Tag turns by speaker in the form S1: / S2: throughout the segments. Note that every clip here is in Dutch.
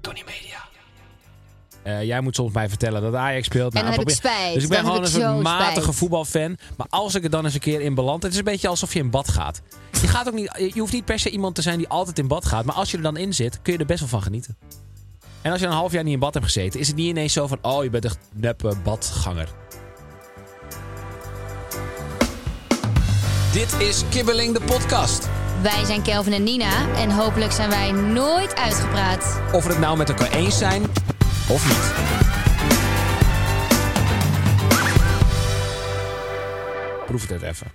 S1: Tony Media. Eh, jij moet soms mij vertellen dat Ajax speelt.
S2: En dan heb ik
S1: probeer-
S2: spijt.
S1: Dus ik ben
S2: Dan heb
S1: gewoon
S2: ik
S1: een soort
S2: zo spijt.
S1: matige voetbalfan. Maar als ik er dan eens een keer in beland... Het is een beetje alsof je in bad gaat. Je, gaat ook niet, je hoeft niet per se iemand te zijn die altijd in bad gaat. Maar als je er dan in zit, kun je er best wel van genieten. En als je een half jaar niet in bad hebt gezeten... is het niet ineens zo van... Oh, je bent echt neppe badganger. Dit is Kibbeling de podcast.
S2: Wij zijn Kelvin en Nina en hopelijk zijn wij nooit uitgepraat.
S1: Of we het nou met elkaar eens zijn of niet. Proef het even.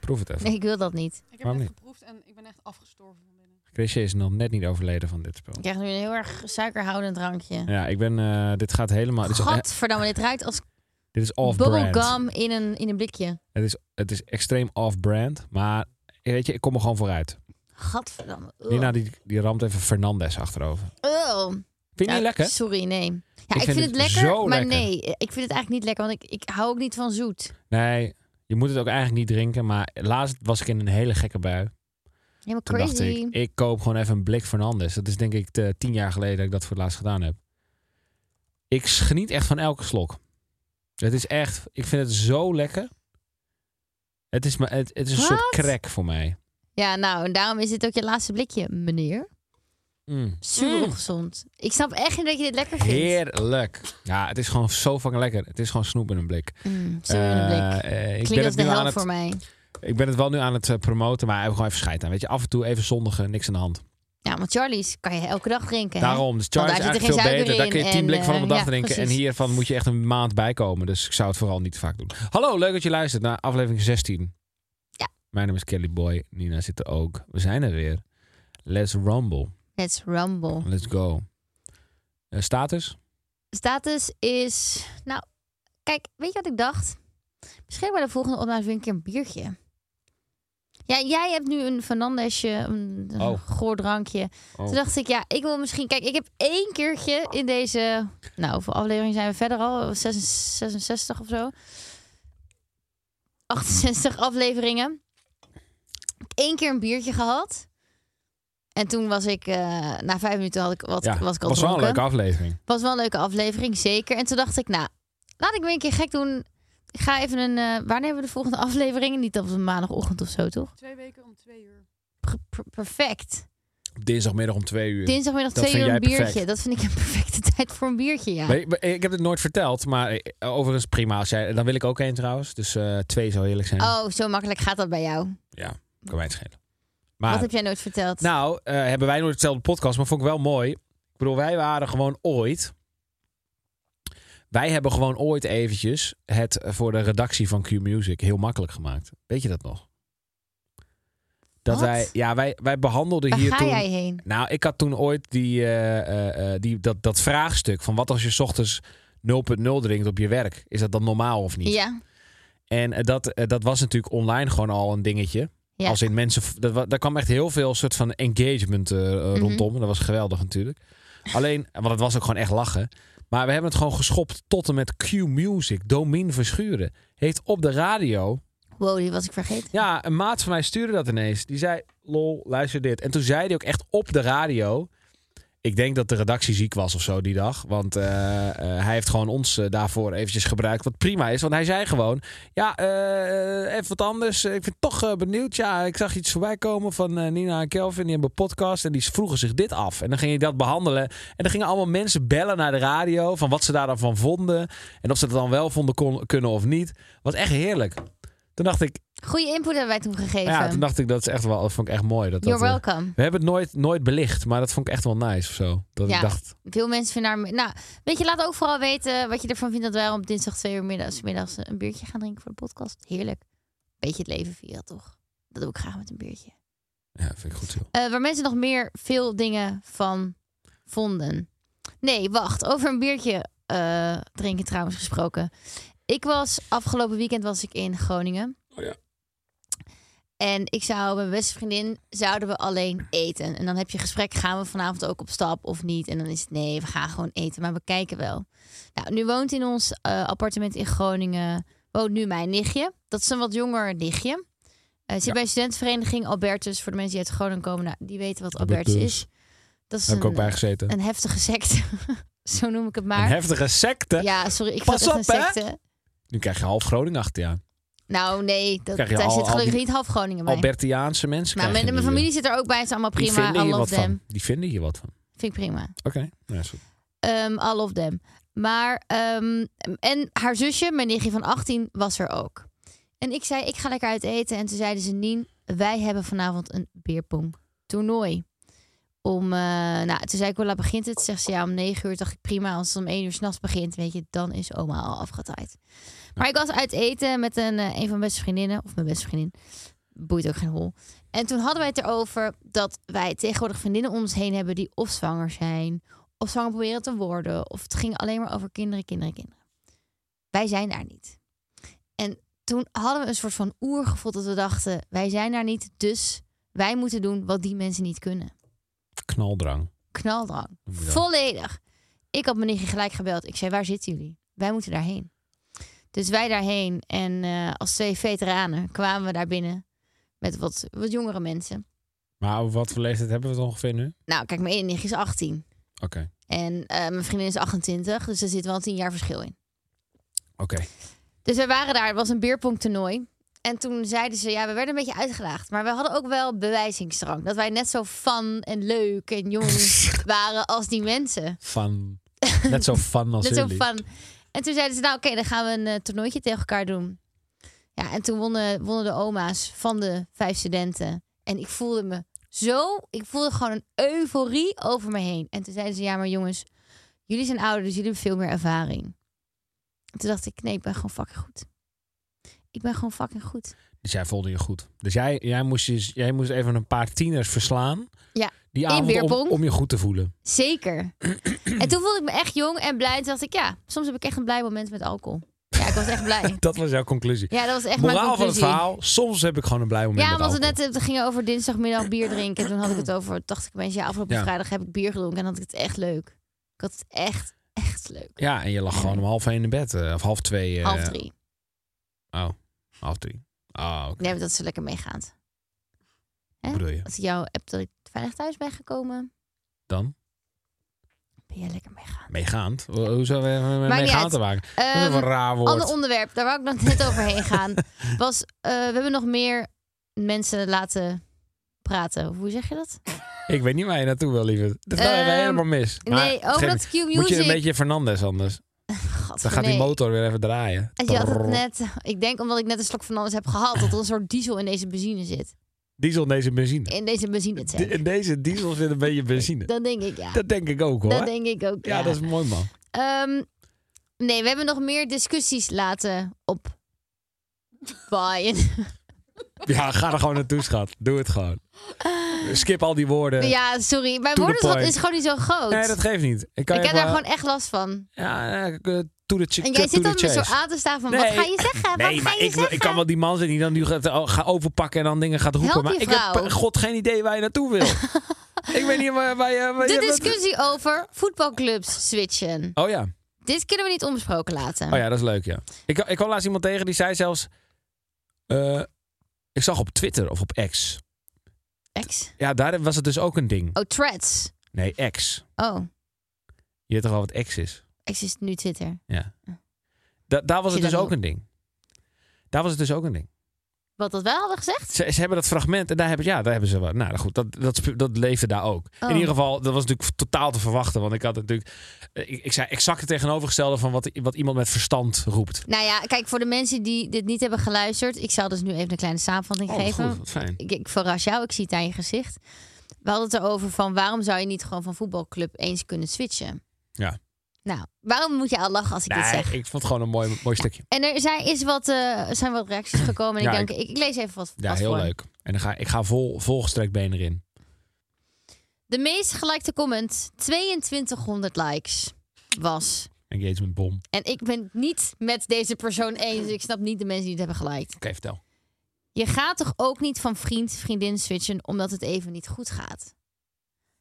S1: Proef het even.
S2: Nee, ik wil dat niet.
S3: Ik heb
S1: Waarom
S3: het
S1: niet?
S3: geproefd en ik ben echt afgestorven van binnen.
S1: Chrisje is nog net niet overleden van dit spel.
S2: Ik krijg nu een heel erg suikerhoudend drankje.
S1: Ja, ik ben. eh, dit gaat helemaal. Dit is,
S2: Gadverdamme, dit ruikt als
S1: dit is off-brand.
S2: bubblegum in een, in een blikje.
S1: Het is, het is extreem off-brand. Maar weet je, ik kom er gewoon vooruit.
S2: Gadverdamme. Ugh.
S1: Nina die, die ramt even Fernandez achterover.
S2: Ugh.
S1: Vind je
S2: Ja,
S1: niet lekker?
S2: Sorry, nee. Ja, ik,
S1: vind
S2: vind,
S1: het
S2: het lekker,
S1: zo
S2: maar
S1: lekker.
S2: nee. Ik vind het eigenlijk niet lekker, want ik, ik hou ook niet van zoet.
S1: Nee, je moet het ook eigenlijk niet drinken. Maar laatst was ik in een hele gekke bui.
S2: Helemaal
S1: Toen dacht
S2: crazy.
S1: ik, ik koop gewoon even een blik Fernandes. Dat is denk ik eh, tien jaar geleden dat ik dat voor het laatst gedaan heb. Ik geniet echt van elke slok. Het is echt, ik vind het zo lekker. Het is, maar, het, het is een soort
S2: Wat?
S1: crack voor mij.
S2: Ja, nou, en daarom is dit ook je laatste blikje, meneer.
S1: Mm.
S2: Super ongezond. Ik snap echt niet dat je dit lekker vindt.
S1: Heerlijk. Ja, het is gewoon zo fucking lekker. Het is gewoon snoep in een blik.
S2: Mm, zo in een blik.
S1: Eh, eh, ik ben
S2: Klinkt als
S1: het
S2: de
S1: nu aan
S2: hel
S1: het,
S2: voor mij.
S1: Ik ben het wel nu aan het eh, promoten, maar even gewoon even scheid aan. Weet je, af en toe even zondigen, niks aan de hand.
S2: Ja, Nou, want Charlie's kan je elke dag drinken. hè?
S1: Daarom, dus
S2: Want
S1: Charles is
S2: daar zit
S1: eigenlijk
S2: er
S1: veel
S2: geen
S1: beter. Daar kun
S2: suiker
S1: je
S2: in
S1: tien
S2: en,
S1: blikken van op een
S2: eh,
S1: dag
S2: ja,
S1: drinken. En
S2: precies.
S1: hiervan moet je echt een maand bijkomen. Dus ik zou het vooral niet vaak doen. Hallo, leuk dat je luistert naar aflevering 16.
S2: Ja.
S1: Mijn naam is Kelly Boy. Nina zit er ook. We zijn er weer. Let's rumble.
S2: Let's rumble.
S1: Let's go. Eh, status?
S2: Status is... Nou, kijk, weet je wat ik dacht? Misschien bij de volgende opname weer een keer een biertje. Ja, jij hebt nu een Fernandesje, een een
S1: Oh.
S2: goor drankje.
S1: Oh.
S2: Toen dacht ik, ja, ik wil misschien... Kijk, ik heb één keertje in deze... Nou, hoeveel aflevering zijn we verder al? 66, 66 of zo. 68 afleveringen. Eén keer een biertje gehad. En toen was ik... eh, na vijf minuten had ik, wat,
S1: ja,
S2: was ik al
S1: was wel een
S2: dronken.
S1: leuke aflevering.
S2: Was wel een leuke aflevering, zeker. En toen dacht ik, nou, laat ik weer een keer gek doen. Ik ga even een... eh wanneer hebben we de volgende aflevering? Niet op een maandagochtend of zo, toch?
S3: Twee weken om twee uur.
S2: Pr- pr- perfect.
S1: Dinsdagmiddag om twee uur.
S2: Dinsdagmiddag
S1: Dat
S2: twee
S1: vind
S2: uur een
S1: jij
S2: biertje.
S1: perfect.
S2: Dat vind ik een perfecte tijd voor een biertje, ja.
S1: Maar ik- maar Ik heb het nooit verteld, maar eh, overigens prima. Als jij, dan wil ik ook één trouwens. Dus eh, twee zou heerlijk zijn.
S2: Oh, zo makkelijk gaat dat bij jou.
S1: Kan mij het schelen. Maar
S2: Wat heb jij nooit verteld?
S1: Nou, eh, hebben wij nooit hetzelfde podcast, maar vond ik wel mooi. Ik bedoel, wij waren gewoon ooit. Wij hebben gewoon ooit eventjes het eh, voor de redactie van Q Music heel makkelijk gemaakt. Weet je dat nog? Dat
S2: Wat?
S1: wij, ja, wij, wij behandelden
S2: Waar
S1: hier
S2: ga
S1: toen.
S2: jij heen?
S1: Nou, ik had toen ooit die, eh, eh, eh, die, dat, dat vraagstuk van wat als je 's ochtends 0.0 drinkt op je werk? Is dat dan normaal of niet?
S2: Ja,
S1: En eh, dat, eh, dat was natuurlijk online gewoon al een dingetje.
S2: ja.
S1: Als in mensen, dat wa- daar kwam echt heel veel soort van engagement eh, eh, rondom. Dat was geweldig natuurlijk. Alleen, eh, want het was ook gewoon echt lachen. Maar we hebben het gewoon geschopt tot en met Q Music. Domin Verschuren heeft op de radio.
S2: Wow, die was ik vergeten.
S1: Ja, een maat van mij stuurde dat ineens. Die zei: Lol, luister dit. En toen zei hij ook echt op de radio. Ik denk dat de redactie ziek was of zo die dag. Want eh, eh, hij heeft gewoon ons eh, daarvoor eventjes gebruikt. Wat prima is. Want hij zei gewoon: Ja, eh, even wat anders. Ik vind toch eh, benieuwd. Ja, ik zag iets voorbij komen van eh, Nina en Kelvin. Die hebben een podcast. En die vroegen zich dit af. En dan ging je dat behandelen. En dan gingen allemaal mensen bellen naar de radio. Van wat ze daar dan van vonden. En of ze dat dan wel vonden kon, kunnen of niet. Was echt heerlijk. Toen dacht ik,
S2: Goede input hebben wij toen gegeven.
S1: ja, toen dacht ik dat is echt wel, dat vond ik echt mooi. Dat, dat,
S2: You're
S1: eh,
S2: welcome.
S1: we hebben het nooit, nooit belicht, maar dat vond ik echt wel nice of zo. Dat ik
S2: Ja.
S1: dacht,
S2: Veel mensen vinden haar... Nou, weet je, laat ook vooral weten wat je ervan vindt... dat wij op dinsdag twee uur middags, middags een biertje gaan drinken voor de podcast. Heerlijk. Beetje het leven via, toch? Dat doe ik graag met een biertje.
S1: Ja, vind ik goed zo.
S2: Eh, waar mensen nog meer veel dingen van vonden. Nee, wacht. Over een biertje eh, drinken trouwens gesproken. Ik was afgelopen weekend was ik in Groningen.
S1: Oh ja.
S2: En ik zou met mijn beste vriendin zouden we alleen eten. En dan heb je gesprek, gaan we vanavond ook op stap of niet? En dan is het nee, we gaan gewoon eten, maar we kijken wel. Nou, nu woont in ons eh, appartement in Groningen, woont nu mijn nichtje. Dat is een wat jonger nichtje. Eh, ze zit
S1: Ja.
S2: bij een studentenvereniging Albertus. Voor de mensen die uit Groningen komen, nou, die weten wat Albertus,
S1: Albertus.
S2: is. Dat is
S1: Daar heb
S2: een, eh,
S1: ik ook bij gezeten.
S2: een heftige secte. Zo noem ik het maar.
S1: Een heftige secte.
S2: Ja, sorry, ik
S1: Pas
S2: vond het
S1: op,
S2: een
S1: hè?
S2: secte.
S1: Nu krijg je half Groningen achter je aan.
S2: Nou, nee, dat,
S1: Krijg je
S2: daar
S1: al-
S2: zit
S1: al
S2: gelukkig
S1: die-
S2: niet half Groningen bij.
S1: Albertiaanse mensen
S2: Nou, Maar
S1: krijg
S2: mijn,
S1: je
S2: mijn
S1: nu,
S2: familie zit er ook bij, is allemaal
S1: eh. Die
S2: prima.
S1: vinden
S2: I
S1: hier wat
S2: love them.
S1: van. Die vinden hier wat van.
S2: Vind ik prima.
S1: Oké. Ja, is goed.
S2: Ehm all of them. Maar, ehm, en haar zusje, mijn nichtje van 18, was er ook. En ik zei, ik ga lekker uit eten. En toen zeiden ze, Nien, wij hebben vanavond een beerpong toernooi. Om, eh, nou, toen zei ik, hoe laat begint het? Zegt ze, ja, om 9 uur. dacht ik, prima, als het om 1 uur s'nachts begint, weet je, dan is oma al afgetaaid. Maar ik was uit eten met een, eh, een van mijn beste vriendinnen, of mijn beste vriendin. Boeit ook geen hol. En toen hadden wij het erover dat wij tegenwoordig vriendinnen om ons heen hebben die of zwanger zijn, of zwanger proberen te worden. Of het ging alleen maar over kinderen, kinderen, kinderen. Wij zijn daar niet. En toen hadden we een soort van oergevoel dat we dachten... wij zijn daar niet, dus wij moeten doen wat die mensen niet kunnen.
S1: Knaldrang.
S2: Knaldrang.
S1: noem je dat.
S2: Volledig. Ik had mijn nichtje gelijk gebeld. Ik zei, waar zitten jullie? Wij moeten daarheen. Dus wij daarheen. En eh, als twee veteranen kwamen we daar binnen... met wat, wat jongere mensen.
S1: Maar over wat voor leeftijd hebben we het ongeveer nu?
S2: Nou, kijk, mijn ene nichtje is 18.
S1: Oké.
S2: En eh, mijn vriendin is 28. Dus er zit wel een 10 jaar verschil in.
S1: Oké.
S2: Dus we waren daar, het was een beerpongtoernooi. En toen zeiden ze, ja, we werden een beetje uitgelaagd. Maar we hadden ook wel bewijzingsdrang. Dat wij net zo fun en leuk en jong waren als die mensen.
S1: Van. Net zo van als
S2: Net zo
S1: jullie.
S2: fun. En toen zeiden ze, nou oké, dan gaan we een eh, toernooitje tegen elkaar doen. Ja, en toen wonnen, wonnen de oma's van de vijf studenten. En ik voelde me zo, ik voelde gewoon een euforie over me heen. En toen zeiden ze, ja, maar jongens, jullie zijn ouder, dus jullie hebben veel meer ervaring. En toen dacht ik, nee, ik ben gewoon fucking goed. Ik ben gewoon fucking goed.
S1: Dus jij voelde je goed. Dus jij, jij, moest, je, jij moest even een paar tieners verslaan.
S2: Ja,
S1: Die
S2: in
S1: avond om,
S2: Weerpong.
S1: om je goed te voelen.
S2: Zeker. en toen voelde ik me echt jong en blij. En toen dacht ik, ja, soms heb ik echt een blij moment met alcohol. Ja, ik was echt blij.
S1: Dat was jouw conclusie.
S2: Ja, dat was echt mijn
S1: Moraal van het
S2: conclusie.
S1: verhaal. Soms heb ik gewoon een blij moment
S2: Ja,
S1: met
S2: want we
S1: alcohol.
S2: net het ging over dinsdagmiddag bier drinken. Toen had ik het over, dacht ik mensen, ja, afgelopen
S1: Ja.
S2: vrijdag heb ik bier gedronken en had ik het echt leuk. Ik had het echt, echt leuk.
S1: Ja, en je lag gewoon om half één in bed. eh, Of half twee. eh,
S2: Half drie.
S1: Oh, half drie. Ah, oké.
S2: Nee, maar dat is lekker meegaand.
S1: Wat bedoel je?
S2: Als ik jou app dat ik veilig thuis ben gekomen,
S1: Dan?
S2: ben jij lekker meegaand.
S1: Meegaand? Ho- Hoe zou we
S2: Maakt niet
S1: meegaand te maken? Dat is
S2: Ehm,
S1: een raar woord.
S2: ander onderwerp, daar wou ik nog net overheen gaan. Was, eh, we hebben nog meer mensen laten praten. Of Hoe zeg je dat?
S1: Ik weet niet waar je naartoe wil, liever. Dat gaan we
S2: Ehm,
S1: helemaal mis. Maar
S2: nee,
S1: geef
S2: over
S1: me-
S2: dat Q-music.
S1: Moet je een beetje Fernandes anders.
S2: Gadver,
S1: Dan gaat die
S2: nee.
S1: motor weer even draaien.
S2: En je had het net, ik denk omdat ik net een slok van alles heb gehaald, dat er een soort diesel in deze benzine zit.
S1: Diesel in deze benzine.
S2: In deze benzine
S1: De-
S2: tank.
S1: In deze diesel zit een beetje benzine.
S2: Dat denk ik, ja.
S1: Dat denk ik ook hoor.
S2: Dat denk ik ook, ja.
S1: ja, dat is mooi man.
S2: Ehm, nee, we hebben nog meer discussies laten op Bayern.
S1: Ja, ga er gewoon naartoe, schat. Doe het gewoon. Skip al die woorden.
S2: Ah. ja, sorry. Mijn
S1: the
S2: woordenschat
S1: point.
S2: is gewoon niet zo groot.
S1: Nee, dat geeft niet. Ik, kan
S2: ik
S1: je
S2: heb
S1: wel-
S2: daar gewoon echt last van.
S1: Ja, eh, to the chi- to
S2: En jij zit
S1: the
S2: dan me zo
S1: chase.
S2: aan te staan van,
S1: Nee.
S2: wat ga je zeggen?
S1: Nee,
S2: wat ga
S1: maar
S2: je
S1: ik, wil-
S2: zeggen?
S1: ik kan wel die man zijn die dan nu gaat, oh, gaat overpakken en dan dingen gaat roepen.
S2: Help je
S1: maar ik heb
S2: vrouw.
S1: eh, god geen idee waar je naartoe wil. ik weet niet waar, waar je... Waar
S2: De
S1: je wat-
S2: discussie over voetbalclubs switchen.
S1: Oh ja.
S2: Dit kunnen we niet onbesproken laten.
S1: oh ja, dat is leuk, ja. Ik, ik kwam laatst iemand tegen die zei zelfs... eh, ik zag op Twitter of op X.
S2: Ex.
S1: Ja, daar was het dus ook een ding.
S2: Oh, threads.
S1: Nee, X.
S2: Oh,
S1: Je weet toch wel wat X is?
S2: ex is nu Twitter.
S1: Ja. Da- daar was
S2: Zie
S1: het dus
S2: dat
S1: ook een ding. Daar was het dus ook een ding.
S2: Wat dat wij hadden gezegd?
S1: Ze, ze hebben dat fragment en daar hebben, ja, daar hebben ze wel. Nou goed, dat, dat, spe- dat leefde daar ook.
S2: Oh.
S1: In ieder geval, dat was natuurlijk totaal te verwachten. Want ik had natuurlijk. eh, Ik, ik zei exact het tegenovergestelde van wat, wat iemand met verstand roept.
S2: Nou ja, kijk, voor de mensen die dit niet hebben geluisterd. Ik zal dus nu even een kleine samenvatting
S1: Oh,
S2: geven.
S1: goed, wat fijn.
S2: Ik, ik verras jou, ik zie het aan je gezicht. We hadden het erover van waarom zou je niet gewoon van voetbalclub eens kunnen switchen?
S1: Ja.
S2: Nou, waarom moet je al lachen als ik dit
S1: Nee,
S2: zeg?
S1: ik vond het gewoon een mooi, mooi stukje.
S2: En er zijn, is wat, eh, er zijn wat reacties gekomen. En ik
S1: Ja,
S2: denk, ik, ik lees even wat,
S1: Ja,
S2: wat
S1: heel
S2: voor.
S1: leuk. En dan ga, ik ga vol, volgestrekt been erin.
S2: De meest gelikte comment, 2200 likes, was...
S1: Engagement bom. Oké,
S2: En ik ben het niet met deze persoon eens. Ik snap niet de mensen die het hebben geliked.
S1: vertel.
S2: Je gaat toch ook niet van vriend, vriendin switchen omdat het even niet goed gaat?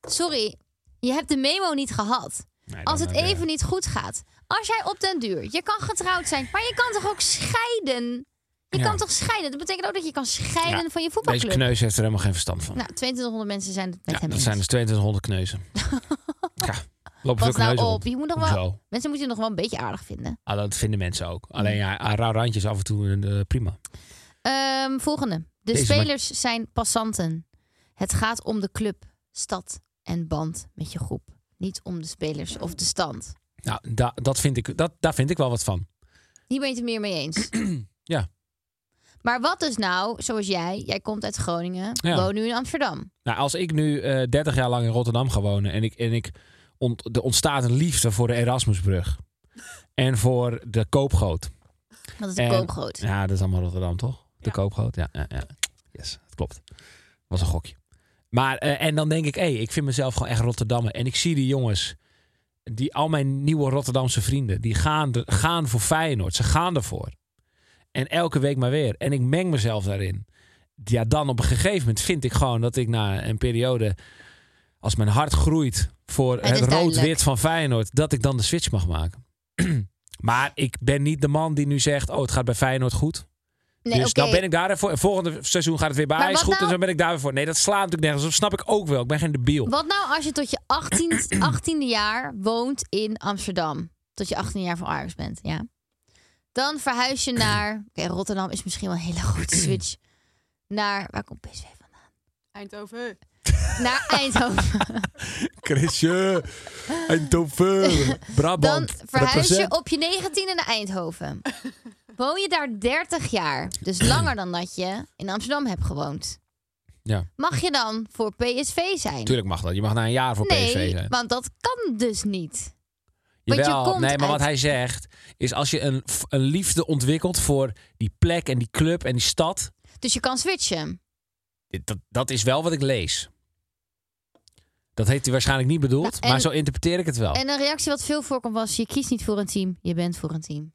S2: Sorry, je hebt de memo niet gehad.
S1: Nee,
S2: Als
S1: dan,
S2: het
S1: eh,
S2: even niet goed gaat. Als jij op den duur, je kan getrouwd zijn, maar je kan toch ook scheiden? Je
S1: Ja.
S2: kan toch scheiden? Dat betekent ook dat je kan scheiden van je
S1: Deze
S2: voetbalclub.
S1: kneus heeft er helemaal geen verstand van.
S2: Nou, 2200 mensen zijn het met
S1: ja,
S2: hem
S1: dat
S2: eens.
S1: zijn dus 2200 kneuzen. ja, lopen veel
S2: Pas nou
S1: kneuzen
S2: op,
S1: rond.
S2: je moet nog wel,
S1: Hoezo?
S2: mensen moeten je nog wel een beetje aardig vinden.
S1: Ah, dat vinden mensen ook. Alleen ja, aan rauw randjes af en toe eh, prima.
S2: Ehm, volgende. De
S1: Deze
S2: spelers zijn passanten. Het gaat om de club, stad en band met je groep. Niet om de spelers of de stand.
S1: Nou, da, dat vind ik, dat, daar vind ik wel wat van.
S2: Hier ben je het meer mee eens.
S1: Ja.
S2: Maar wat dus nou, zoals jij, jij komt uit Groningen,
S1: Ja.
S2: woon nu in Amsterdam.
S1: Nou, als ik nu eh, 30 jaar lang in Rotterdam ga wonen en ik, en ik ont, er ontstaat een liefde voor de Erasmusbrug en voor de Koopgoot.
S2: Dat is een
S1: En-
S2: koopgroot.
S1: Ja, dat is allemaal Rotterdam, toch? De
S3: Ja.
S1: Koopgoot, ja, ja, ja. Yes, dat klopt. Was een gokje. Maar, eh, en dan denk ik, hé, ik vind mezelf gewoon echt Rotterdammer. En ik zie die jongens, die, al mijn nieuwe Rotterdamse vrienden, die gaan, er- gaan voor Feyenoord. Ze gaan ervoor. En elke week maar weer. En ik meng mezelf daarin. Ja, dan op een gegeven moment vind ik gewoon dat ik na een periode, als mijn hart groeit voor
S2: is
S1: het rood-wit
S2: duidelijk.
S1: van Feyenoord, dat ik dan de switch mag maken. maar ik ben niet de man die nu zegt, oh, het gaat bij Feyenoord goed.
S2: Nee,
S1: dus
S2: oké.
S1: dan ben ik daar weer voor. En volgende seizoen gaat het weer bij
S2: Maar
S1: Ajax
S2: wat
S1: goed.
S2: nou-
S1: En dan ben ik daar weer voor. Nee, dat slaat natuurlijk nergens op. Snap ik ook wel. Ik ben geen debiel.
S2: Wat nou als je tot je 18, 18e jaar woont in Amsterdam? Tot je 18 jaar van Ajax bent, ja. Dan verhuis je naar... Oké, Rotterdam is misschien wel een hele goede switch. Naar... Waar komt PSV vandaan?
S3: Eindhoven.
S2: Naar Eindhoven.
S1: Chrisje, Eindhoven,
S2: Dan
S1: Brabant.
S2: verhuis je op je 19e naar Eindhoven. Woon je daar 30 jaar. Dus langer dan dat je in Amsterdam hebt gewoond.
S1: Ja.
S2: Mag je dan voor PSV zijn?
S1: Tuurlijk mag dat. Je mag na een jaar voor PSV
S2: nee,
S1: zijn.
S2: want dat kan dus niet. want je
S1: Jawel,
S2: komt
S1: nee, maar wat
S2: uit-
S1: hij zegt is als je een, f- een liefde ontwikkelt voor die plek en die club en die stad.
S2: Dus je kan switchen.
S1: dit- Dat, dat is wel wat ik lees. Dat heeft hij waarschijnlijk niet bedoeld,
S2: Nou, en-
S1: maar zo interpreteer ik het wel.
S2: En een reactie wat veel voorkomt was: je kiest niet voor een team, je bent voor een team.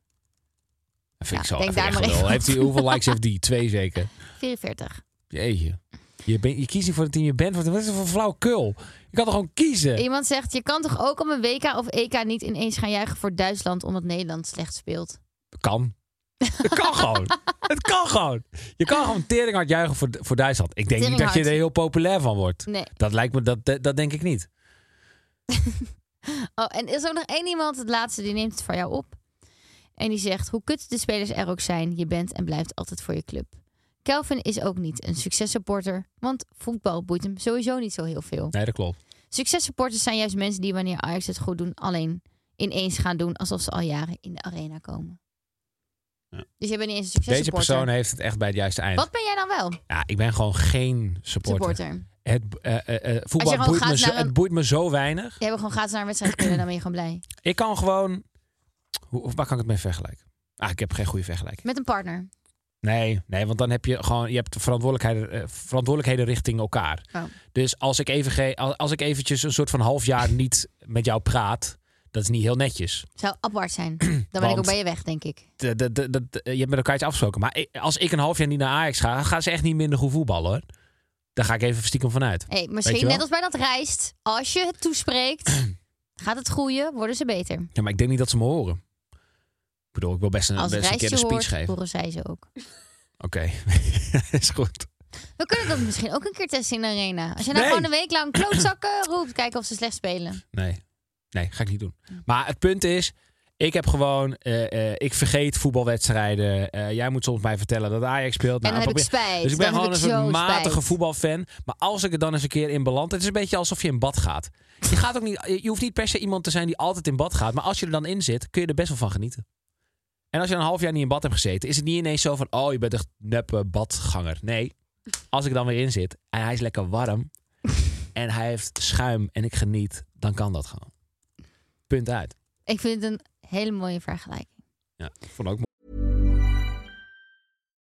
S1: dat vind ik
S2: ja,
S1: zo. dat vind ik
S2: denk daar
S1: echt
S2: maar
S1: gelul.
S2: even
S1: heeft hij,
S2: op.
S1: hoeveel likes heeft die? Twee zeker.
S2: 44.
S1: Jeetje. Je, bent je kiest niet voor het team, je bent voor het Wat is dat voor flauwekul? Je kan toch gewoon kiezen?
S2: Iemand zegt: je kan toch ook om een WK of EK niet ineens gaan juichen voor Duitsland omdat Nederland slecht speelt.
S1: Kan. Het kan gewoon. Het kan gewoon. Je kan gewoon tering hard juichen voor, voor Duitsland. Ik denk niet dat je
S2: Teringhard.
S1: er heel populair van wordt.
S2: Nee.
S1: Dat lijkt me, dat, dat, dat denk ik niet.
S2: Oh, en is er ook nog één iemand, het laatste, die neemt het van jou op. En die zegt: hoe kut de spelers er ook zijn, je bent en blijft altijd voor je club. Kelvin is ook niet een successupporter, want voetbal boeit hem sowieso niet zo heel veel.
S1: Nee, dat klopt.
S2: Successupporters zijn juist mensen die wanneer Ajax het goed doen, alleen ineens gaan doen alsof ze al jaren in de arena komen.
S1: Ja.
S2: Dus je bent niet eens een
S1: Deze
S2: successupporter.
S1: persoon heeft het echt bij het juiste eind.
S2: Wat ben jij dan wel?
S1: Ja, ik ben gewoon geen supporter.
S2: Supporter.
S1: Het, eh, eh, eh, voetbal
S2: gewoon
S1: boeit
S2: gaat
S1: me, zo,
S2: naar een-
S1: het boeit me zo weinig.
S2: Jij wil gewoon gratis naar een wedstrijd kunnen, dan ben je gewoon blij.
S1: Ik kan gewoon... Hoe, waar kan ik het mee vergelijken? Ah, ik heb geen goede vergelijking.
S2: Met een partner.
S1: Nee, nee, want dan heb je gewoon je hebt verantwoordelijkheden, eh, verantwoordelijkheden richting elkaar.
S2: Oh.
S1: Dus als ik, even ge- al- als ik eventjes een soort van half jaar niet met jou praat, dat is niet heel netjes.
S2: Zou apart zijn. Dan ben ik
S1: Want-
S2: ook bij je weg, denk ik.
S1: De- de- de- de- de- je hebt met elkaar iets afgesproken. Maar ik- als ik een half jaar niet naar Ajax ga, gaan ze echt niet minder goed voetballen hoor. Daar ga ik even stiekem vanuit.
S2: Hey,
S1: Weet je
S2: misschien
S1: wel?
S2: net als bij dat rijst. Als je het toespreekt, gaat het groeien, worden ze beter.
S1: Ja, maar ik denk niet dat ze me horen. Ik bedoel, ik wil best een,
S2: Als
S1: best een keer
S2: rijstje
S1: een speech
S2: hoort,
S1: geven.
S2: horen zij ze ook.
S1: Oké, is goed.
S2: We kunnen dat misschien ook een keer testen in de arena. Als je nou
S1: Nee.
S2: gewoon een week lang klootzakken roept, kijken of ze slecht spelen.
S1: Nee. Nee, ga ik niet doen. Maar het punt is, ik heb gewoon, eh, eh, ik vergeet voetbalwedstrijden. Eh, jij moet soms mij vertellen dat Ajax speelt.
S2: en dan heb ik
S1: probeer-
S2: spijt.
S1: dus ik ben
S2: Dan heb
S1: gewoon een
S2: zo
S1: soort matige
S2: spijt.
S1: voetbalfan. Maar als ik er dan eens een keer in beland, het is een beetje alsof je in bad gaat. Je, gaat ook niet, je hoeft niet per se iemand te zijn die altijd in bad gaat. Maar als je er dan in zit, kun je er best wel van genieten. En als je een half jaar niet in bad hebt gezeten, is het niet ineens zo van, oh, je bent echt neppe badganger. Nee, als ik dan weer in zit en hij is lekker warm en hij heeft schuim en ik geniet, dan kan dat gewoon. Punt uit.
S2: Ik vind het een hele mooie vergelijking.
S1: Ja, ik vond ook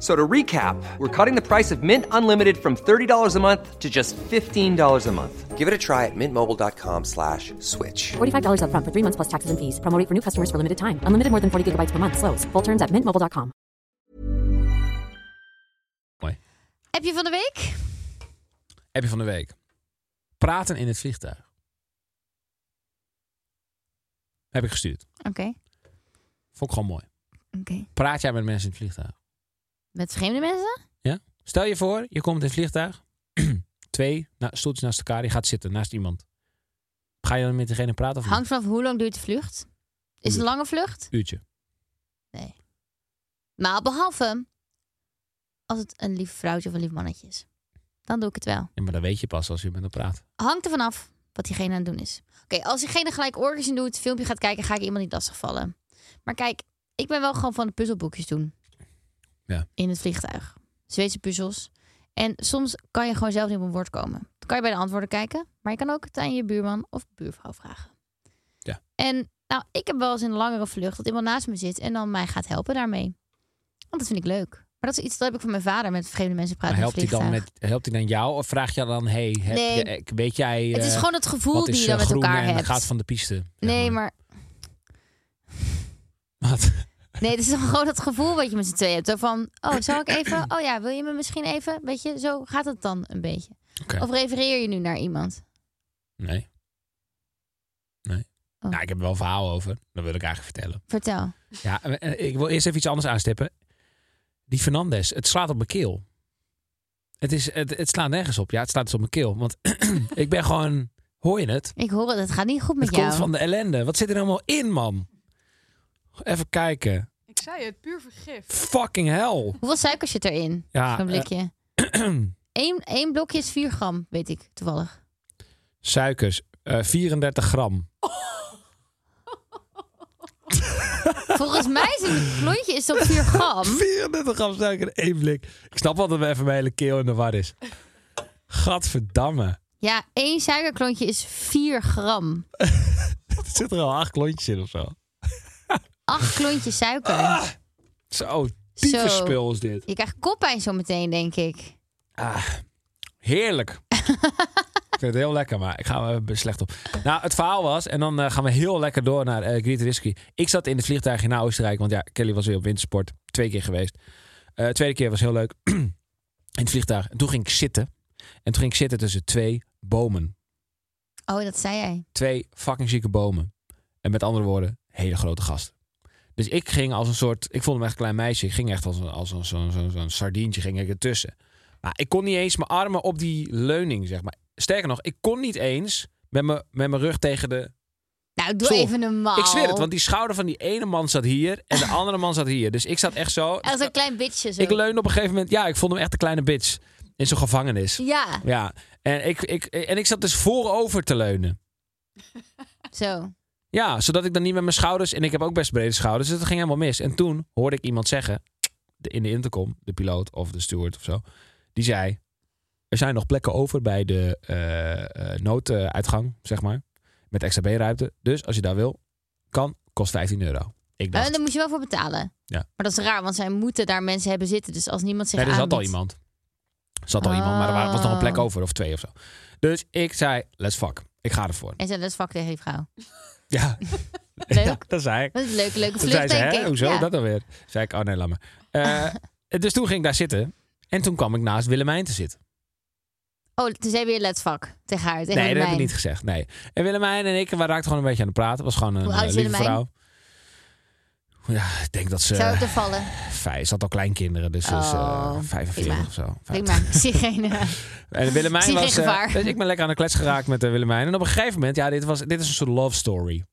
S4: So to recap, we're cutting the price of Mint Unlimited from $30 a month to just $15 a month. Give it a try at mintmobile.com slash switch.
S5: $45 upfront for three months plus taxes and fees. Promo rate for new customers for limited time. Unlimited more than 40 gigabytes per month. Slows. Full terms at mintmobile.com.
S1: mooi.
S2: Heb je van de week?
S1: Heb je van de week. Praten in het vliegtuig. Heb ik gestuurd.
S2: Oké.
S1: Vond ik gewoon mooi.
S2: Oké.
S1: Praat jij met mensen in het vliegtuig?
S2: Met vreemde mensen?
S1: Stel je voor, je komt in het vliegtuig. Twee na, stoeltjes naast elkaar. Je gaat zitten naast iemand. Ga je dan met degene praten? Of niet?
S2: Hangt vanaf hoe lang duurt de vlucht? Is het een lange vlucht?
S1: Uurtje.
S2: Maar behalve als het een lief vrouwtje of een lief mannetje is. Dan doe ik het wel.
S1: Ja, maar dat weet je pas als je met hem praat.
S2: Hangt er vanaf wat diegene aan het doen is. Oké, als diegene gelijk oortjes in doet, het filmpje gaat kijken, ga ik iemand niet lastigvallen. Maar kijk, ik ben wel gewoon van de puzzelboekjes doen.
S1: Ja.
S2: In het vliegtuig. Zweedse puzzels. En soms kan je gewoon zelf niet op een woord komen. Dan kan je bij de antwoorden kijken. Maar je kan ook het aan je buurman of buurvrouw vragen.
S1: Ja.
S2: En nou, ik heb wel eens in een langere vlucht dat iemand naast me zit en dan mij gaat helpen daarmee. Want dat vind ik leuk. Maar dat is iets dat heb ik van mijn vader met vreemde mensen
S1: Maar
S2: praten. in
S1: helpt
S2: het
S1: hij, dan
S2: vliegtuig.
S1: met, helpt hij dan jou of vraag je dan... Hey, heb
S2: Nee.
S1: je- eh, weet jij...
S2: Het is
S1: eh,
S2: gewoon het gevoel
S1: wat
S2: die
S1: is,
S2: je dan
S1: eh,
S2: met
S1: groen
S2: elkaar
S1: en
S2: hebt.
S1: gaat van de piste? zeg
S2: Nee, maar
S1: Wat?
S2: Nee, het is dan gewoon dat gevoel wat je met z'n tweeën hebt. Zo van, oh, zal ik even... Oh ja, wil je me misschien even... Weet je, zo gaat het dan een beetje.
S1: Oké.
S2: Of refereer je nu naar iemand?
S1: Nee. Nee.
S2: Oh.
S1: Nou, ik heb er wel een verhaal over. Dat wil ik eigenlijk vertellen.
S2: Vertel.
S1: Ja, eh, eh, ik wil eerst even iets anders aanstippen. Die Fernandes, het slaat op mijn keel. Het, is, het, het slaat nergens op. Ja, het slaat dus op mijn keel. Want ik ben gewoon... Hoor je het?
S2: Ik hoor het, het gaat niet goed met
S1: het
S2: jou.
S1: komt van de ellende. Wat zit er allemaal in, man? Even kijken.
S3: Ik zei het, puur vergif.
S1: Fucking hell.
S2: Hoeveel suiker zit erin?
S1: Ja, eh,
S2: Zo'n blikje. Eén, één blokje is 4 gram, weet ik toevallig.
S1: Suikers, eh, 34 gram.
S2: Volgens mij is een klontje is dat 4 gram.
S1: 34 gram suiker in één blik. Ik snap wel dat even mijn hele keel in de war is. Gadverdamme.
S2: Ja, één suikerklontje is 4 gram.
S1: Er zit er al acht klontjes in of zo.
S2: Acht klontjes suiker.
S1: Ah! Zo, tyferspul is dit.
S2: Je krijgt koppijn zo meteen, denk ik.
S1: Heerlijk. ik vind het heel lekker, maar ik ga er even slecht op. Nou, het verhaal was, en dan eh, gaan we heel lekker door naar eh Griet Risky. Ik zat in het vliegtuig naar Oostenrijk, want ja, Kelly was weer op wintersport. Twee keer geweest. Eh tweede keer was heel leuk. in het vliegtuig. En toen ging ik zitten. En toen ging ik zitten tussen twee bomen.
S2: Oh, dat zei jij.
S1: twee fucking zieke bomen. En met andere woorden, hele grote gasten. Dus ik ging als een soort, ik voelde me echt een klein meisje. Ik ging echt als een, als een, zo'n, zo'n, zo'n sardientje ging ik ertussen. Maar ik kon niet eens mijn armen op die leuning, zeg maar. Sterker nog, ik kon niet eens met mijn, met mijn rug tegen de...
S2: Nou, doe
S1: Zo.
S2: even normaal.
S1: Ik zweer het, want die schouder van die ene man zat hier en de andere man zat hier. Dus ik zat echt zo...
S2: Als een klein bitje zo.
S1: Ik leunde op een gegeven moment, ja, ik voelde me echt een kleine bitch. In zo'n gevangenis.
S2: Ja,
S1: Ja, en ik, ik, en ik zat dus voorover te leunen.
S2: zo.
S1: Ja, zodat ik dan niet met mijn schouders... En ik heb ook best brede schouders, dus dat ging helemaal mis. En toen hoorde ik iemand zeggen, de- in de intercom, de piloot of de steward of zo... Die zei, er zijn nog plekken over bij de eh, eh, nooduitgang, zeg maar. Met extra B-ruimte. Dus als je daar wil, kan, kost 15 euro. Ik dacht,
S2: En Eh, daar moet je wel voor betalen.
S1: Ja.
S2: Maar dat is raar, want zij moeten daar mensen hebben zitten. Dus als niemand zich
S1: nee, er zat al
S2: aanbiedt-
S1: iemand. Er zat al iemand, maar er wa- was nog een plek
S2: Oh.
S1: over of twee of zo. Dus ik zei, let's fuck. Ik ga ervoor.
S2: En zei, dat is vak tegen die vrouw.
S1: Ja,
S2: Leuk.
S1: ja dat zei ik.
S2: Dat is een leuke, leuke
S1: Toen
S2: vlucht,
S1: zei ze,
S2: denk
S1: hè,
S2: ik.
S1: hoezo
S2: Ja.
S1: dat dan weer? Zei ik, oh nee, laat maar. Eh, dus toen ging ik daar zitten. En toen kwam ik naast Willemijn te zitten.
S2: Oh, toen zei weer let's vak tegen haar. Tegen
S1: nee, dat heb ik
S2: mij.
S1: niet gezegd. Nee. En Willemijn en ik, we raakten gewoon een beetje aan het praten. was gewoon een
S2: Hoe oud
S1: eh,
S2: is
S1: lieve
S2: Willemijn?
S1: vrouw. Ja, ik denk dat ze...
S2: Zou het er vallen?
S1: Vijf, ze had al kleinkinderen, dus ze is eh,
S2: Oh,
S1: 45
S2: prima.
S1: of zo.
S2: Prima, ik zie geen... eh,
S1: En
S2: Ik
S1: Willemijn
S2: zie geen
S1: was... eh,
S2: gevaar.
S1: dus ik ben lekker aan de klets geraakt met eh, Willemijn. En op een gegeven moment, ja, dit, was, dit is een soort love story.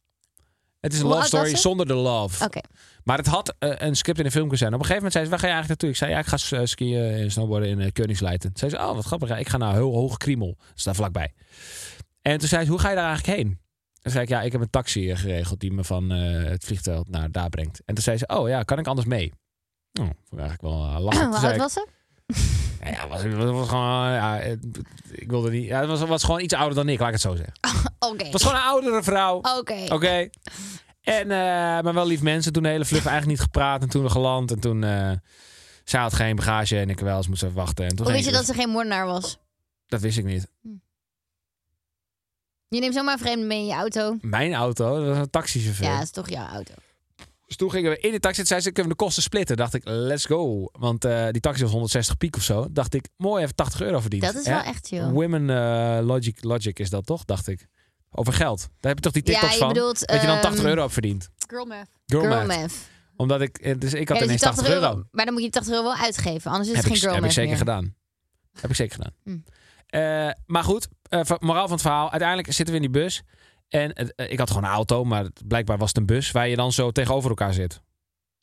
S1: Het is een
S2: Hoe
S1: love
S2: oud was
S1: story
S2: ze?
S1: zonder de love.
S2: Oké,
S1: Maar het had eh, een script in een film kunnen zijn. Op een gegeven moment zei ze, waar ga je eigenlijk naartoe? Ik zei, ja, ik ga eh, skiën en snowboarden in uh, Koningsleiten. Zei ze, oh, wat grappig. ja, Ik ga naar heel hoog Kriemel. Dat is daar vlakbij. En toen zei ze, hoe ga je daar eigenlijk heen? En zei ik, ja, ik heb een taxi eh, geregeld die me van eh, het vliegveld naar daar brengt. En toen zei ze, oh ja, kan ik anders mee? Nou, vond ik eigenlijk wel eh, lachen. Toen
S2: Hoe
S1: zei
S2: oud
S1: ik,
S2: was ze?
S1: nou ja, was, was, was gewoon, ja, eh, ik wilde niet, ja, het was, was gewoon iets ouder dan ik, laat ik het zo zeggen.
S2: Oké.
S1: Het was gewoon een oudere
S2: Oh,
S1: vrouw.
S2: Oké.
S1: Oké. En, eh, maar wel lief mensen. Toen de hele vlucht eigenlijk niet gepraat. En toen we geland. En toen... eh zij had geen bagage en ik wel. Ze moest even wachten. En toen
S2: Hoe
S1: ging
S2: wist je
S1: ik
S2: dat ze geen moordenaar was?
S1: dus- dat wist ik niet.
S2: Je neemt zomaar vreemden mee in je auto.
S1: Mijn auto, dat was een taxichauffeur.
S2: Ja, dat is toch jouw auto.
S1: Dus toen gingen we in de taxi. Toen zei ze, kunnen we de kosten splitten? dacht ik, let's go. Want eh, die taxi was 160 piek of zo. dacht ik, mooi, even 80 euro verdiend.
S2: Dat is
S1: Hè?
S2: wel echt chill.
S1: Women eh, logic, logic is dat toch, dacht ik. Over geld. Daar heb je toch die
S2: Ja,
S1: TikToks
S2: je
S1: van?
S2: bedoelt,
S1: dat je dan 80
S2: ehm,
S1: euro hebt verdiend.
S3: Girl math.
S1: Girl,
S2: Girl
S1: math.
S2: math.
S1: Omdat ik... eh, Dus ik
S2: Ja,
S1: had
S2: dus die
S1: ineens 80, euro.
S2: Maar dan moet je die 80 euro wel uitgeven. Anders is het
S1: heb
S2: geen
S1: ik,
S2: girl
S1: heb ik
S2: math
S1: zeker
S2: meer.
S1: gedaan. Heb ik zeker gedaan.
S2: Hmm.
S1: Eh, maar goed, eh, ver- moraal van het verhaal. Uiteindelijk zitten we in die bus. En het- eh, ik had gewoon een auto, maar het- blijkbaar was het een bus waar je dan zo tegenover elkaar zit.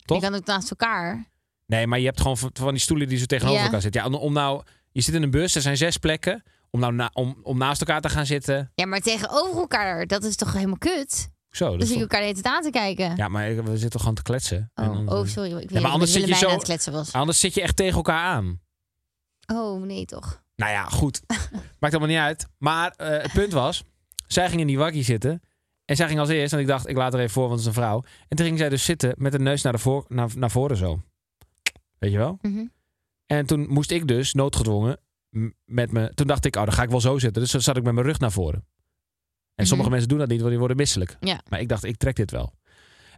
S1: Toch?
S2: Je kan ook naast elkaar.
S1: Nee, maar je hebt gewoon van, van die stoelen die zo tegenover
S2: Ja.
S1: elkaar zitten. Ja, om, om nou, je zit in een bus, er zijn zes plekken. Om, nou na- om, om naast elkaar te gaan zitten.
S2: Ja, maar tegenover elkaar, dat is toch helemaal kut?
S1: Zo. dat is
S2: Dan zie Dus je
S1: toch-
S2: elkaar de hele tijd aan te kijken.
S1: ja, maar ik- we zitten toch gewoon te kletsen. En
S2: Oh,
S1: dan- eh,
S2: oh, sorry. Ik weet
S1: maar
S2: niet
S1: anders
S2: of
S1: zit je
S2: Willemijn
S1: zo- Ah.
S2: aan het kletsen was.
S1: Anders zit je echt tegen elkaar aan.
S2: Oh, nee toch.
S1: Nou ja, goed. Maakt allemaal niet uit. Maar eh, het punt was, zij ging in die wakkie zitten. En zij ging als eerst, en ik dacht, ik laat er even voor, want het is een vrouw. En toen ging zij dus zitten met de neus naar, de voor, naar, naar voren zo. Weet je wel?
S2: Mhm.
S1: En toen moest ik dus, noodgedwongen, m- met me... Toen dacht ik, oh, dan ga ik wel zo zitten. Dus dan zat ik met mijn rug naar voren. En sommige mensen doen dat niet, want die worden misselijk.
S2: Mhm. Ja.
S1: Maar ik dacht, ik trek dit wel.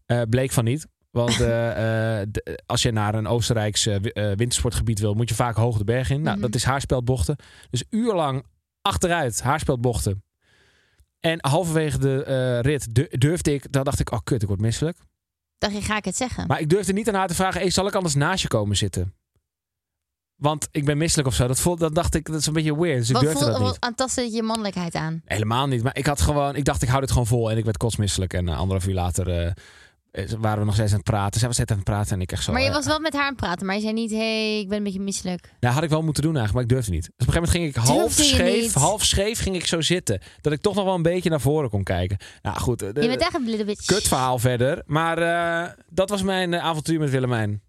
S1: Eh, bleek van niet. Want eh, eh, d- als je naar een Oostenrijks eh, wi- eh, wintersportgebied wil, moet je vaak hoog de berg in. Nou,
S2: Mhm.
S1: dat is haarspeldbochten. Dus uurlang achteruit, haarspeldbochten. En halverwege de eh, rit du- durfde ik, daar dacht ik, oh kut, ik word misselijk.
S2: Dacht je, ga ik het zeggen?
S1: Maar ik durfde niet aan haar te vragen, hey, zal ik anders naast je komen zitten? Want ik ben misselijk of zo. Dat, voelde, dat dacht ik, dat is een beetje weird. Dus ik
S2: wat
S1: durfde
S2: voel,
S1: dat niet.
S2: wat aantastte het je mannelijkheid aan?
S1: Helemaal niet. Maar ik had gewoon, ik dacht, ik hou dit gewoon vol. En ik werd kotsmisselijk. En eh, anderhalf uur later eh, eh, waren we nog steeds aan het praten. Zij was net aan het praten en ik echt zo.
S2: maar je
S1: eh,
S2: was wel met haar aan het praten, maar je zei niet, hey, ik ben een beetje misselijk.
S1: Nou, had ik wel moeten doen eigenlijk, maar ik durfde niet. Dus op een gegeven moment ging ik half
S2: Durfde je
S1: scheef,
S2: niet?
S1: half scheef ging ik zo zitten. Dat ik toch nog wel een beetje naar voren kon kijken. Nou goed, eh, de-
S2: je bent echt een little bitch.
S1: kut verhaal verder. Maar eh, dat was mijn eh, avontuur met Willemijn.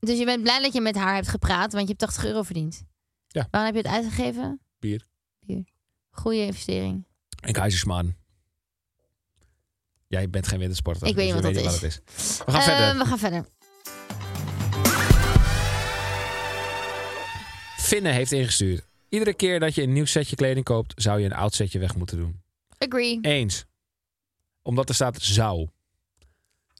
S2: Dus je bent blij dat je met haar hebt gepraat, want je hebt 80 euro verdiend.
S1: Ja.
S2: Waarom heb je het uitgegeven?
S1: Bier.
S2: Bier. Goede investering.
S1: En Keizersman. Jij bent geen wintersporter.
S2: Ik weet
S1: dus
S2: niet
S1: je
S2: wat dat
S1: niet wat het is. We gaan verder.
S2: Eh, we gaan verder.
S1: Finne heeft ingestuurd. Iedere keer dat je een nieuw setje kleding koopt, zou je een oud setje weg moeten doen.
S2: Agree.
S1: Eens. Omdat er staat zou.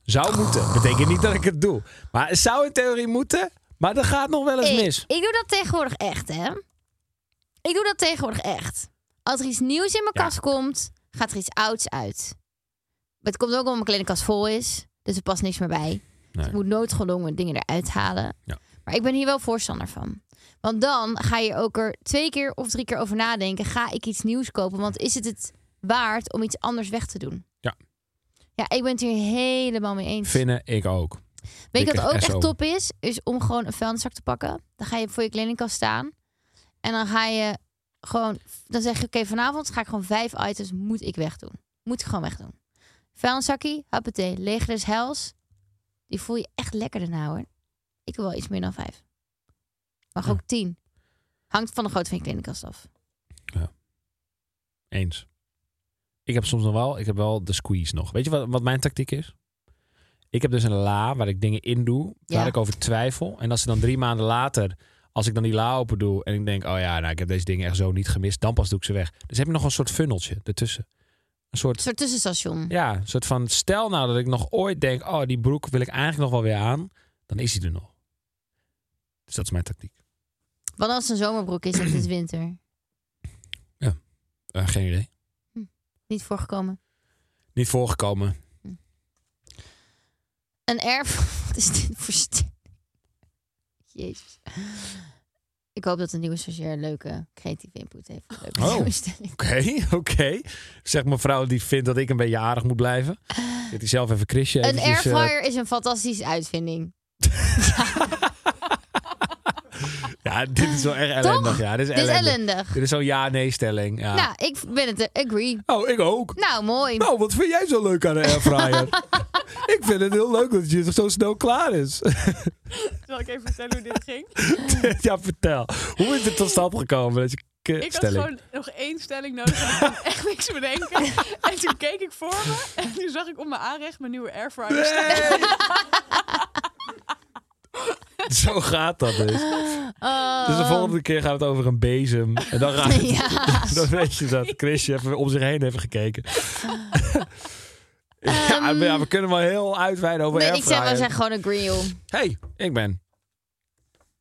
S1: Zou moeten. Betekent niet dat ik het doe. Maar het zou in theorie moeten. Maar dat gaat nog wel eens
S2: Ik-
S1: mis.
S2: Ik, doe dat tegenwoordig echt, hè? Ik doe dat tegenwoordig echt. Als er iets nieuws in mijn
S1: Ja.
S2: kast komt, gaat er iets ouds uit. Het komt ook omdat mijn kledingkast vol is, dus er past niks meer bij. Dus ik moet noodgedwongen dingen eruit halen.
S1: Ja.
S2: Maar ik ben hier wel voorstander van. Want dan ga je ook er twee keer of drie keer over nadenken. Ga ik iets nieuws kopen? Want is het het waard om iets anders weg te doen?
S1: Ja.
S2: Ja, ik ben het hier helemaal mee eens.
S1: Vinden ik ook.
S2: Weet je
S1: Dikke
S2: wat ook
S1: SO.
S2: echt top is? Is om gewoon een vuilniszak te pakken. Dan ga je voor je kledingkast staan. En dan ga je gewoon... Dan zeg je, oké, vanavond ga ik gewoon vijf items moet ik wegdoen. Moet ik gewoon wegdoen. Vuilniszakkie, huppatee, leger des hels. Die voel je echt lekker daarna hoor. Ik wil wel iets meer dan vijf. Mag
S1: Ja.
S2: ook tien. Hangt van de grootte van je kledingkast af.
S1: Eens. Ik heb soms nog wel, ik heb wel de squeeze nog. Weet je wat, wat mijn tactiek is? Ik heb dus een la waar ik dingen in doe, waar
S2: Ja.
S1: ik over twijfel. En als ze dan drie maanden later, als ik dan die la open doe en ik denk, oh ja, nou, ik heb deze dingen echt zo niet gemist, dan pas doe ik ze weg. Dus heb je nog een soort funneltje ertussen. Een soort
S2: Een soort tussenstation.
S1: Ja, een soort van stel nou dat ik nog ooit denk, oh die broek wil ik eigenlijk nog wel weer aan, dan is die er nog. Dus dat is mijn tactiek.
S2: Want als het een zomerbroek is, dan is het winter.
S1: Eh, geen idee.
S2: Niet voorgekomen.
S1: Niet voorgekomen.
S2: Een erf. Wat is dit voor stil? Jezus. Ik hoop dat de nieuwe stagiair leuke creatieve input heeft. voor Leuke
S1: Oh.
S2: nieuwe stelling.
S1: Oké, oké. Zegt mevrouw die vindt dat ik een beetje aardig moet blijven. Zit hij zelf even Chrisje
S2: Eh. Een
S1: eventjes, eh,
S2: airfryer is een fantastische uitvinding.
S1: Ja, dit is wel erg
S2: Toch?
S1: ellendig. Ja, dit is
S2: Dit is
S1: ellendig.
S2: ellendig.
S1: Dit is zo'n ja-nee-stelling. Ja.
S2: Nou, ik ben het eh, agree.
S1: Oh, ik ook.
S2: Nou, mooi.
S1: Nou, wat vind jij zo leuk aan de airfryer? ik vind het heel leuk dat je zo snel klaar is.
S3: Zal ik even vertellen hoe dit ging?
S1: ja, vertel. Hoe is het tot stand gekomen? Dat je k-
S3: Ik had
S1: stelling?
S3: gewoon nog één stelling nodig en ik kon echt niks bedenken. En toen keek ik voor me en toen zag ik op mijn aanrecht mijn nieuwe airfryer staan.
S1: Zo gaat dat dus.
S2: Eh,
S1: Dus de volgende keer gaan we het over een bezem. En dan raakt het.
S2: Ehm. Ja.
S1: Dan weet je dat Chrisje even om zich heen heeft gekeken.
S2: Ehm.
S1: ja, maar ja, we kunnen wel heel uitweiden over
S2: Nee, ik
S1: airfryer.
S2: zeg, we zijn gewoon agree, joh.
S1: hey, ik ben.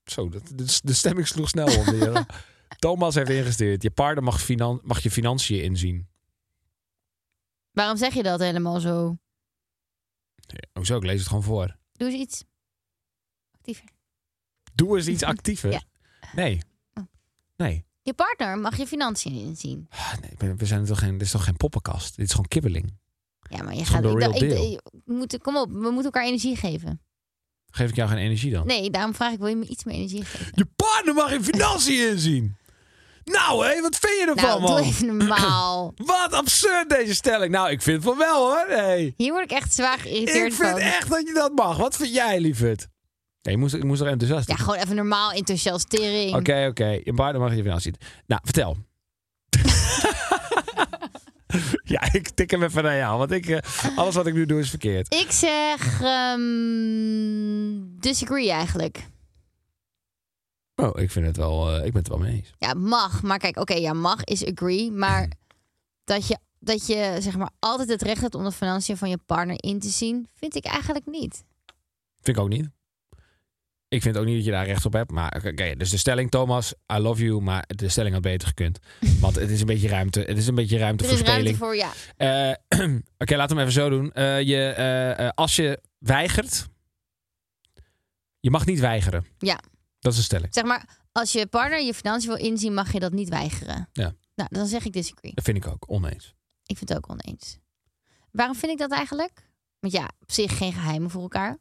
S1: Zo, dat, de, de stemming sloeg snel om. hier. Thomas heeft ingestuurd. Je paarden mag, finan, mag je financiën inzien.
S2: Waarom zeg je dat helemaal zo?
S1: Hoezo? Oh, Ik lees het gewoon voor.
S2: Doe eens iets. Actiever.
S1: Doe eens iets actiever.
S2: Ja.
S1: Nee.
S2: Oh.
S1: Nee.
S2: Je partner mag je financiën inzien.
S1: Ah, nee, we- we zijn toch geen, dit is toch geen poppenkast? Dit is gewoon kibbeling.
S2: Ja, maar je
S1: is gewoon
S2: gaat... nou,
S1: de
S2: ik-
S1: real
S2: ik-
S1: deal.
S2: ik- we moeten, kom op, we moeten elkaar energie geven.
S1: Geef ik jou geen energie dan?
S2: Nee, daarom vraag ik, wil je me iets meer energie geven?
S1: Je partner mag je financiën inzien. Nou, hé, wat vind je
S2: Nou,
S1: ervan,
S2: doe
S1: man?
S2: even normaal.
S1: Wat absurd deze stelling. Nou, ik vind van wel, hoor. Hey.
S2: Hier word ik echt zwaar geïrriteerd
S1: Ik vind
S2: van.
S1: echt dat je dat mag. Wat vind jij, lieverd? Nee, ik moest, ik moest er enthousiast
S2: Ja,
S1: in.
S2: gewoon even normaal enthousiastering.
S1: Oké, oké. Je partner mag je financiën inzien. Nou, vertel. ja, ik tik hem even naar jou. Want ik, eh, alles wat ik nu doe is verkeerd.
S2: Ik zeg... ehm, disagree eigenlijk.
S1: Oh, ik vind het wel... eh, ik ben het wel mee eens.
S2: Ja, mag. Maar kijk, oké, ja, mag is agree. Maar dat je, dat je zeg maar altijd het recht hebt om de financiën van je partner in te zien, vind ik eigenlijk niet.
S1: Vind ik ook niet. Ik vind ook niet dat je daar recht op hebt. Maar oké, oké, dus de stelling, Thomas, I love you. Maar de stelling had beter gekund. Want het is een beetje ruimte. Het is een beetje ruimte
S2: Er
S1: voor
S2: is ruimte
S1: speling.
S2: voor, ja.
S1: Eh, oké, laten we hem even zo doen. Eh, je, eh, eh, als je weigert, je mag niet weigeren.
S2: Ja.
S1: Dat is een stelling.
S2: Zeg maar, als je partner je financiën wil inzien, mag je dat niet weigeren.
S1: Ja.
S2: Nou, dan zeg ik disagree.
S1: Dat vind ik ook oneens.
S2: Ik vind het ook oneens. Waarom vind ik dat eigenlijk? Want ja, op zich geen geheimen voor elkaar.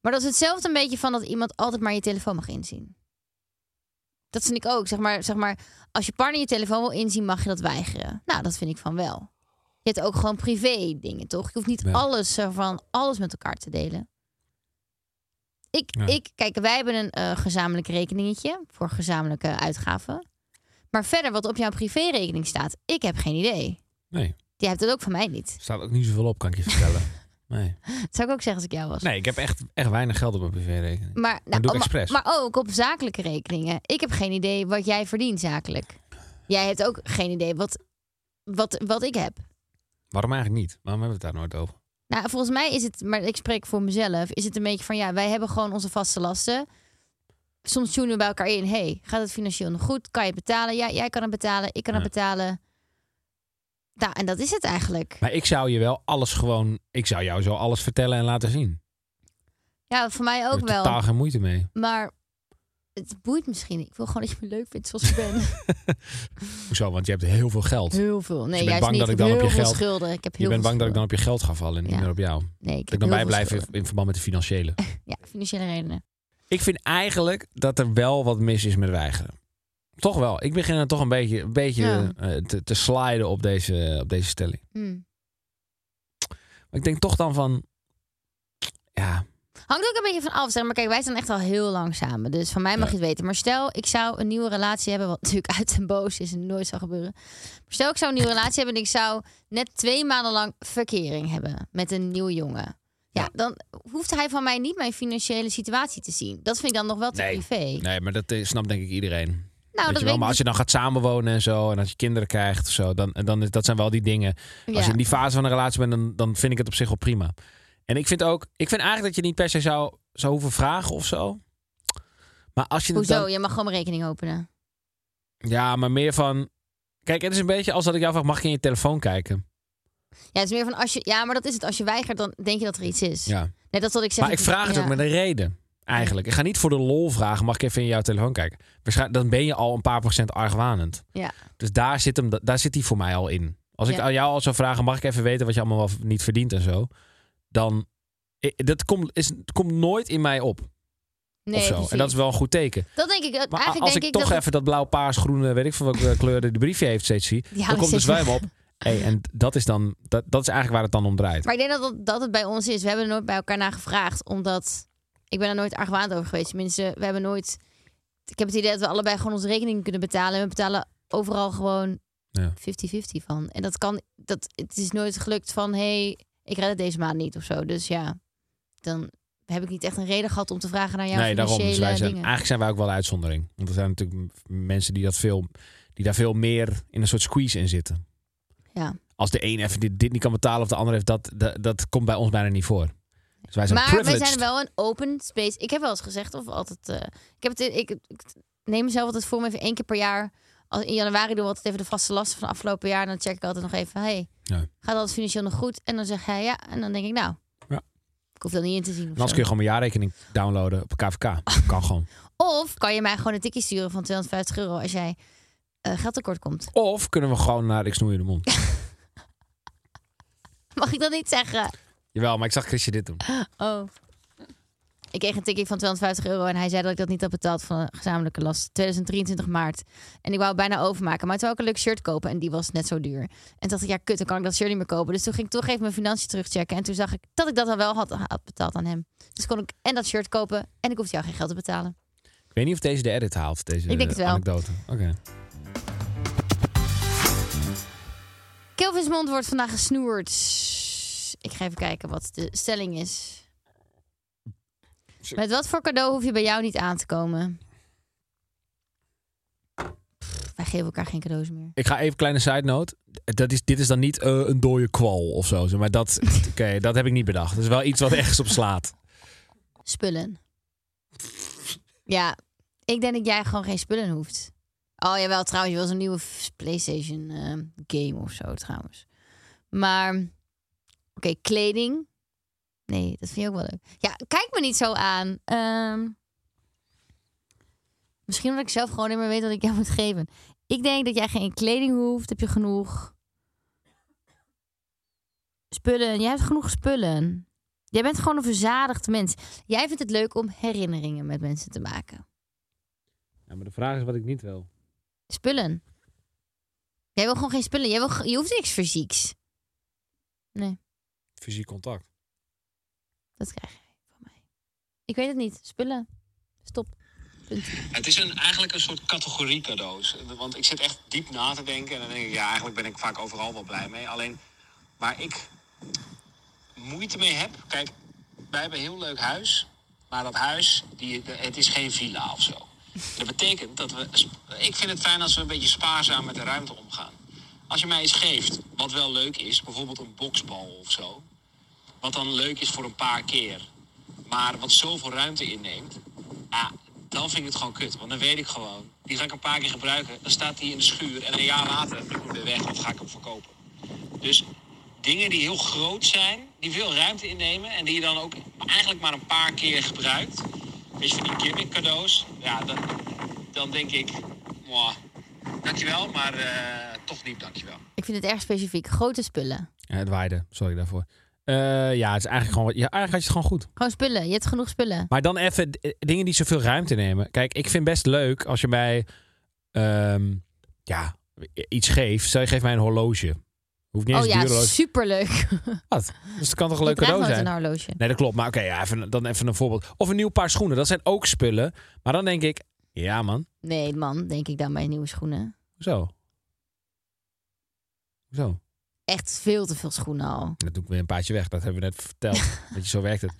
S2: Maar dat is hetzelfde een beetje van dat iemand altijd maar je telefoon mag inzien. Dat vind ik ook. Zeg maar, zeg maar, als je partner je telefoon wil inzien, mag je dat weigeren. Nou, dat vind ik van wel. Je hebt ook gewoon privé dingen, toch? Je hoeft niet
S1: Ja.
S2: alles eh, van alles met elkaar te delen. Ik,
S1: Ja.
S2: ik kijk, wij hebben een eh, gezamenlijk rekeningetje voor gezamenlijke uitgaven. Maar verder, wat op jouw privérekening staat, ik heb geen idee.
S1: Nee,
S2: Jij hebt het ook van mij niet.
S1: er staat ook niet zoveel op, kan ik je vertellen. Nee,
S2: Dat zou ik ook zeggen als ik jou was.
S1: nee ik heb echt, echt weinig geld op mijn privérekening.
S2: Maar,
S1: Dat doe ik
S2: maar-
S1: expres.
S2: maar ook op zakelijke rekeningen. Ik heb geen idee wat jij verdient zakelijk. Jij hebt ook geen idee wat, wat, wat ik heb.
S1: Waarom eigenlijk niet? Waarom hebben we het daar nooit over?
S2: Nou, volgens mij is het, maar ik spreek voor mezelf, is het een beetje van ja, wij hebben gewoon onze vaste lasten. Soms tunen we bij elkaar in. hey, gaat het financieel nog goed? Kan je het betalen? Ja, jij kan het betalen. Ik kan het
S1: Ja.
S2: betalen. Nou, en dat is het eigenlijk.
S1: Maar ik zou je wel alles gewoon... Ik zou jou zo alles vertellen en laten zien.
S2: Ja, voor mij
S1: ik
S2: ook
S1: heb
S2: wel.
S1: totaal geen moeite mee.
S2: Maar het boeit misschien. Ik wil gewoon dat je me leuk vindt zoals ik ben.
S1: Hoezo? Want je hebt heel veel geld.
S2: Heel veel. Nee,
S1: Dus je bent
S2: juist
S1: bang
S2: niet.
S1: dat ik
S2: heb
S1: dan op
S2: heel
S1: je
S2: veel
S1: geld-
S2: schulden. Ik heb heel
S1: je bent
S2: veel
S1: bang dat ik dan op
S2: schulden.
S1: je geld ga vallen en niet
S2: Ja.
S1: meer op jou. Dat
S2: Nee, ik
S1: ik
S2: heb
S1: dan
S2: heel veel
S1: bijblijf in,
S2: schulden.
S1: in verband met de financiële.
S2: Ja, financiële redenen.
S1: Ik vind eigenlijk dat er wel wat mis is met weigeren. Toch wel. Ik begin er toch een beetje, een beetje
S2: Ja.
S1: eh, te, te sliden op deze, op deze stelling.
S2: Hm.
S1: Maar ik denk toch dan van... Ja,
S2: Hangt ook een beetje van af. Zeg maar kijk, wij zijn echt al heel lang samen. Dus van mij mag
S1: Ja.
S2: je het weten. Maar stel, ik zou een nieuwe relatie hebben. Wat natuurlijk uit en boos is en nooit zal gebeuren. Maar stel, ik zou een nieuwe relatie hebben. En ik zou net twee maanden lang verkering hebben met een nieuwe jongen. Ja, dan hoeft hij van mij niet mijn financiële situatie te zien. Dat vind ik dan nog wel te
S1: Nee.
S2: privé.
S1: nee, maar dat eh, snapt denk ik iedereen.
S2: Nou,
S1: Weet
S2: dat
S1: je wel?
S2: weet
S1: Maar als je dan gaat samenwonen en zo... en als je kinderen krijgt of zo... dan, eh, dan is, dat zijn wel die dingen.
S2: ik-
S1: Als je
S2: ja.
S1: in die fase van een relatie bent... Dan, dan vind ik het op zich wel prima. En ik vind ook... Ik vind eigenlijk dat je niet per se zou, zou hoeven vragen of zo. Maar als je het
S2: Hoezo?
S1: dan-
S2: Je mag gewoon mijn rekening openen.
S1: Ja, maar meer van... Kijk, het is een beetje als dat ik jou vraag... mag ik in je telefoon kijken?
S2: Ja, het is meer van als je. Ja, maar dat is het. Als je weigert, dan denk je dat er iets is.
S1: Ja.
S2: Net als dat ik zeg.
S1: maar ik vraag het
S2: ja.
S1: ook met een reden. Eigenlijk. Ik ga niet voor de lol vragen. Mag ik even in jouw telefoon kijken? Waarschijnlijk, dan ben je al een paar procent argwanend.
S2: Ja.
S1: Dus daar zit, hem, daar zit hij voor mij al in. Als ik
S2: Ja.
S1: aan jou al zou vragen, mag ik even weten wat je allemaal wel niet verdient en zo. Dan, i- dat komt, is, komt nooit in mij op.
S2: Nee,
S1: of zo.
S2: precies.
S1: En dat is wel een goed teken.
S2: dat denk ik. dat-
S1: Maar
S2: eigenlijk
S1: als
S2: denk
S1: ik,
S2: ik
S1: toch
S2: dat
S1: even dat blauw, paars, groene, weet ik van welke kleur de briefje heeft steeds zie,
S2: Ja,
S1: dan komt dus de
S2: precies.
S1: zwijm op. Hey, en dat is dan, dat, dat is eigenlijk waar het dan om draait.
S2: Maar ik denk dat, dat dat het bij ons is. We hebben er nooit bij elkaar naar gevraagd. Omdat ik ben er nooit argwaand over geweest. Tenminste, we hebben nooit... Ik heb het idee dat we allebei gewoon onze rekening kunnen betalen. En we betalen overal gewoon
S1: Ja.
S2: 50-50 van. En dat kan... Dat, het is nooit gelukt van... hey, ik red het deze maand niet of zo. Dus ja, dan heb ik niet echt een reden gehad om te vragen naar jouw
S1: nee, daarom. Dus
S2: financiële
S1: wij zijn,
S2: dingen.
S1: eigenlijk zijn wij ook wel een uitzondering. Want er zijn natuurlijk m- mensen die, dat veel, die daar veel meer in een soort squeeze in zitten.
S2: Ja.
S1: Als de een even dit, dit niet kan betalen of de ander heeft dat, dat, dat komt bij ons bijna niet voor. Dus wij zijn
S2: Maar
S1: privileged.
S2: wij zijn wel een open space. Ik heb wel eens gezegd, of altijd. eh, ik, heb het, ik, ik neem mezelf altijd voor me even één keer per jaar. Als, in januari doen we altijd even de vaste lasten van afgelopen jaar. En dan check ik altijd nog even. Hey,
S1: Ja.
S2: gaat alles financieel nog goed? En dan zeg hij ja. En dan denk ik, nou,
S1: Ja.
S2: ik hoef dat niet in te zien.
S1: En
S2: Of,
S1: anders
S2: zo.
S1: kun je gewoon mijn jaarrekening downloaden op KVK. Kan gewoon.
S2: Of kan je mij gewoon een tikkie sturen van 250 euro als jij eh geld tekort komt?
S1: Of kunnen we gewoon naar Ik snoei je de mond.
S2: Mag ik dat niet zeggen?
S1: Jawel, maar ik zag Chrisje dit doen.
S2: Oh. Ik kreeg een tikkie van 250 euro en hij zei dat ik dat niet had betaald van een gezamenlijke last. 2023 maart. En ik wou het bijna overmaken. Maar toen wou ik een leuk shirt kopen en die was net zo duur. En toen dacht ik, ja kut, dan kan ik dat shirt niet meer kopen. Dus toen ging ik toch even mijn financiën terugchecken. En toen zag ik dat ik dat al wel had, had betaald aan hem. Dus kon ik en dat shirt kopen en ik hoefde jou geen geld te betalen.
S1: Ik weet niet of deze de edit haalt, deze
S2: Ik denk het wel.
S1: anekdote. Oké.
S2: Kelvin's mond wordt vandaag gesnoerd. Ik ga even kijken wat de stelling is. Met wat voor cadeau hoef je bij jou niet aan te komen? Pff, wij geven elkaar geen cadeaus meer.
S1: Ik ga even kleine side note. Dat is, dit is dan niet eh, een dode kwal of zo. zeg Maar dat, oké, dat heb ik niet bedacht. Dat is wel iets wat ergens op slaat.
S2: Spullen. Ja, ik denk dat jij gewoon geen spullen hoeft. Oh jawel, trouwens, je wil zo'n nieuwe f- PlayStation eh, game of zo trouwens. Maar, oké, kleding. Nee, dat vind je ook wel leuk. Ja, kijk me niet zo aan. Ehm, misschien omdat ik zelf gewoon niet meer weet wat ik jou moet geven. Ik denk dat jij geen kleding hoeft. Heb je genoeg spullen? Jij hebt genoeg spullen. Jij bent gewoon een verzadigd mens. Jij vindt het leuk om herinneringen met mensen te maken.
S1: Ja, maar de vraag is wat ik niet wil.
S2: Spullen. Jij wil gewoon geen spullen. Jij wil, ge- je hoeft niks fysieks. Nee,
S1: Fysiek contact.
S2: dat krijg jij van mij. Ik weet het niet. Spullen. Stop. Punt.
S6: Het is een, eigenlijk een soort categorie cadeaus. Want ik zit echt diep na te denken. En dan denk ik, ja, eigenlijk ben ik vaak overal wel blij mee. Alleen waar ik moeite mee heb. Kijk, wij hebben een heel leuk huis. Maar dat huis, die, de- het is geen villa of zo. Dat betekent dat we. Ik vind het fijn als we een beetje spaarzaam met de ruimte omgaan. Als je mij iets geeft, wat wel leuk is, bijvoorbeeld een boksbal of zo. Wat dan leuk is voor een paar keer. Maar wat zoveel ruimte inneemt. Ja, dan vind ik het gewoon kut. Want dan weet ik gewoon, die ga ik een paar keer gebruiken. Dan staat die in de schuur en een jaar later moet ik hem weer weg of ga ik hem verkopen. Dus dingen die heel groot zijn, die veel ruimte innemen en die je dan ook eigenlijk maar een paar keer gebruikt. Weet je, van die gimmick cadeaus. Ja, dan, dan denk ik, mwah, dankjewel, maar eh, toch niet dankjewel.
S2: Ik vind het erg specifiek. Grote spullen.
S1: Ja, het waaide, sorry daarvoor. Eh, ja, het is eigenlijk gewoon. wat- Ja, eigenlijk had je het gewoon goed.
S2: Gewoon spullen. Je hebt genoeg spullen.
S1: Maar dan even d- eh, dingen die zoveel ruimte nemen. Kijk, ik vind best leuk als je mij ehm, ja, i- iets geeft. Stel je geeft mij een horloge. Hoeft niet eens
S2: Oh
S1: een
S2: ja,
S1: duur horloge.
S2: superleuk.
S1: Wat? Dus het kan toch een
S2: Ik
S1: leuk
S2: draag
S1: cadeau
S2: nooit
S1: zijn?
S2: een horloge.
S1: Nee, dat klopt. Maar oké, ja, even, dan even een voorbeeld. Of een nieuw paar schoenen. Dat zijn ook spullen. Maar dan denk ik, ja man,
S2: Nee, man, denk ik dan bij nieuwe schoenen.
S1: hoezo? Hoezo?
S2: Echt veel te veel schoenen al.
S1: Dat doe ik weer een paardje weg. Dat hebben we net verteld. Weet je, zo werkt het.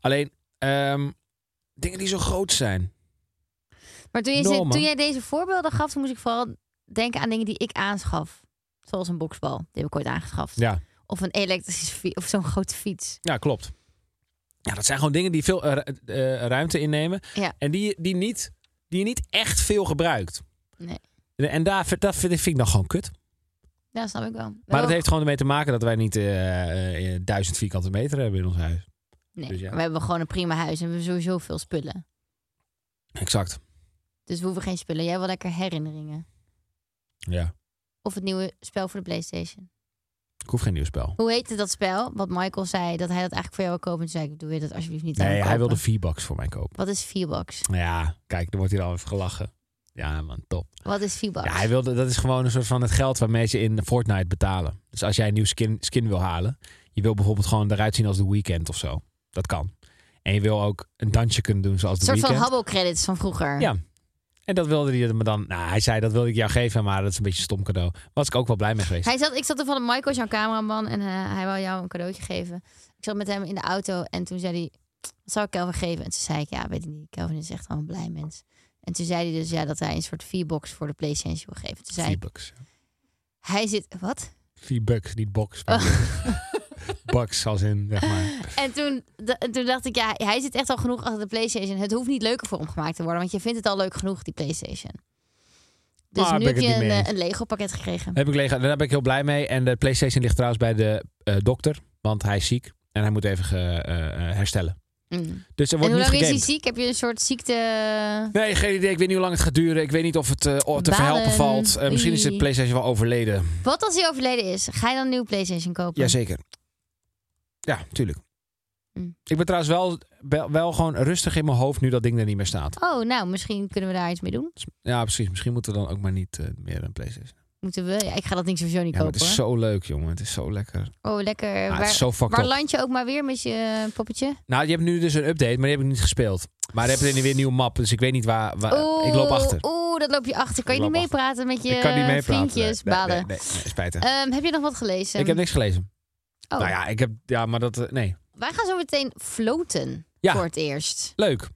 S1: Alleen, ehm, dingen die zo groot zijn.
S2: Maar toen, je
S1: Nul,
S2: ze-
S1: man.
S2: toen jij deze voorbeelden gaf, toen moest ik vooral denken aan dingen die ik aanschaf. Zoals een boksbal, die heb ik ooit aangeschaft.
S1: Ja,
S2: Of een elektrische fiets, of zo'n grote fiets.
S1: ja klopt. Ja, dat zijn gewoon dingen die veel eh, ru- eh, ruimte innemen.
S2: Ja.
S1: En die, die, niet, die je niet echt veel gebruikt.
S2: Nee.
S1: En daar, dat vind ik dan gewoon kut.
S2: Ja, snap ik wel.
S1: Maar
S2: Wel-
S1: dat heeft gewoon ermee te maken dat wij niet eh, eh, duizend vierkante meter hebben in ons huis.
S2: Nee,
S1: dus ja.
S2: we hebben gewoon een prima huis en we hebben sowieso veel spullen.
S1: Exact.
S2: Dus we hoeven geen spullen. Jij wil lekker herinneringen.
S1: Ja.
S2: Of het nieuwe spel voor de Playstation.
S1: Ik hoef geen nieuw spel.
S2: Hoe heette dat spel? Wat Michael zei, dat hij dat eigenlijk voor jou wil kopen. En toen zei ik, doe je dat alsjeblieft niet. aan
S1: Nee,
S2: me
S1: hij wilde
S2: kopen.
S1: V-Bucks voor mij kopen.
S2: Wat is V-Box?
S1: Ja, kijk, dan wordt hij al even gelachen. Ja, man, top.
S2: Wat is V-Box?
S1: Ja, hij wilde, dat is gewoon een soort van het geld waarmee ze in Fortnite betalen. Dus als jij een nieuw skin, skin wil halen, je wil bijvoorbeeld gewoon eruit zien als The Weeknd of zo. Dat kan. En je wil ook een dansje kunnen doen zoals
S2: een
S1: The
S2: soort van
S1: Weeknd.
S2: Habbo-credits van vroeger.
S1: Ja. En dat wilde hij me dan. Nou, hij zei dat wilde ik jou geven, maar dat is een beetje een stom cadeau. Was ik ook wel blij mee geweest.
S2: Hij zat, ik zat er van Michael, is jouw cameraman, en eh, hij wou jou een cadeautje geven. Ik zat met hem in de auto en toen zei hij, wat zou ik Kelvin geven? En toen zei ik, ja, weet ik niet. Kelvin is echt al een blij mens. En toen zei hij dus ja, dat hij een soort V-box voor de PlayStation wil geven. Toen zei ik,
S1: V-Bucks.
S2: hij zit, wat?
S1: V-Bucks, niet box. maar Bucks als in, zeg maar.
S2: En toen, da- en toen dacht ik, ja, hij zit echt al genoeg achter de PlayStation. Het hoeft niet leuker voor hem gemaakt te worden, want je vindt het al leuk genoeg, die PlayStation. Dus
S1: Ah,
S2: nu
S1: ben
S2: heb
S1: ik het
S2: je
S1: niet
S2: een,
S1: mee
S2: eh,
S1: eens.
S2: een Lego pakket gekregen.
S1: Heb ik leeg, daar ben ik heel blij mee. En de PlayStation ligt trouwens bij de eh, dokter, want hij is ziek. En hij moet even ge- eh, eh, herstellen.
S2: Mm.
S1: Dus er
S2: En
S1: wordt
S2: hoe
S1: niet
S2: lang is
S1: gegamed.
S2: hij ziek? Heb je een soort ziekte...
S1: Nee, geen idee. Ik weet niet hoe lang het gaat duren. Ik weet niet of het eh, o- te
S2: Balen.
S1: verhelpen valt. Eh, misschien is de
S2: Oei.
S1: PlayStation wel overleden.
S2: Wat als hij overleden is? Ga je dan een nieuwe PlayStation kopen?
S1: Jazeker. Ja, tuurlijk.
S2: Mm.
S1: Ik ben trouwens wel, wel, wel gewoon rustig in mijn hoofd nu dat ding er niet meer staat.
S2: Oh, nou, misschien kunnen we daar iets mee doen.
S1: Dus- Ja, precies. Misschien moeten we dan ook maar niet eh, meer een PlayStation.
S2: Moeten we? Ja, ik ga dat ding sowieso niet
S1: Ja, maar het
S2: kopen.
S1: is
S2: hoor.
S1: zo leuk, jongen. Het is zo lekker.
S2: Oh, lekker.
S1: Ah, het
S2: waar
S1: is zo fucked
S2: waar
S1: up.
S2: land je ook maar weer met je eh, poppetje?
S1: Nou, je hebt nu dus een update, maar die heb ik niet gespeeld. Maar je hebt er weer een nieuwe map, dus ik weet niet waar... waar- ik loop achter.
S2: Oeh, dat loop je achter. Kan
S1: Ik
S2: je niet
S1: loop achter.
S2: meepraten met je
S1: ik kan niet meepraten.
S2: vriendjes,
S1: Nee, nee,
S2: balen?
S1: Nee, nee, nee, spijtig.
S2: Ehm, heb je nog wat gelezen?
S1: ik heb niks gelezen.
S2: Oh,
S1: Nou ja, ik heb... Ja, maar dat... eh, Nee.
S2: Wij gaan zo meteen floten
S1: Ja.
S2: voor het eerst.
S1: Leuk.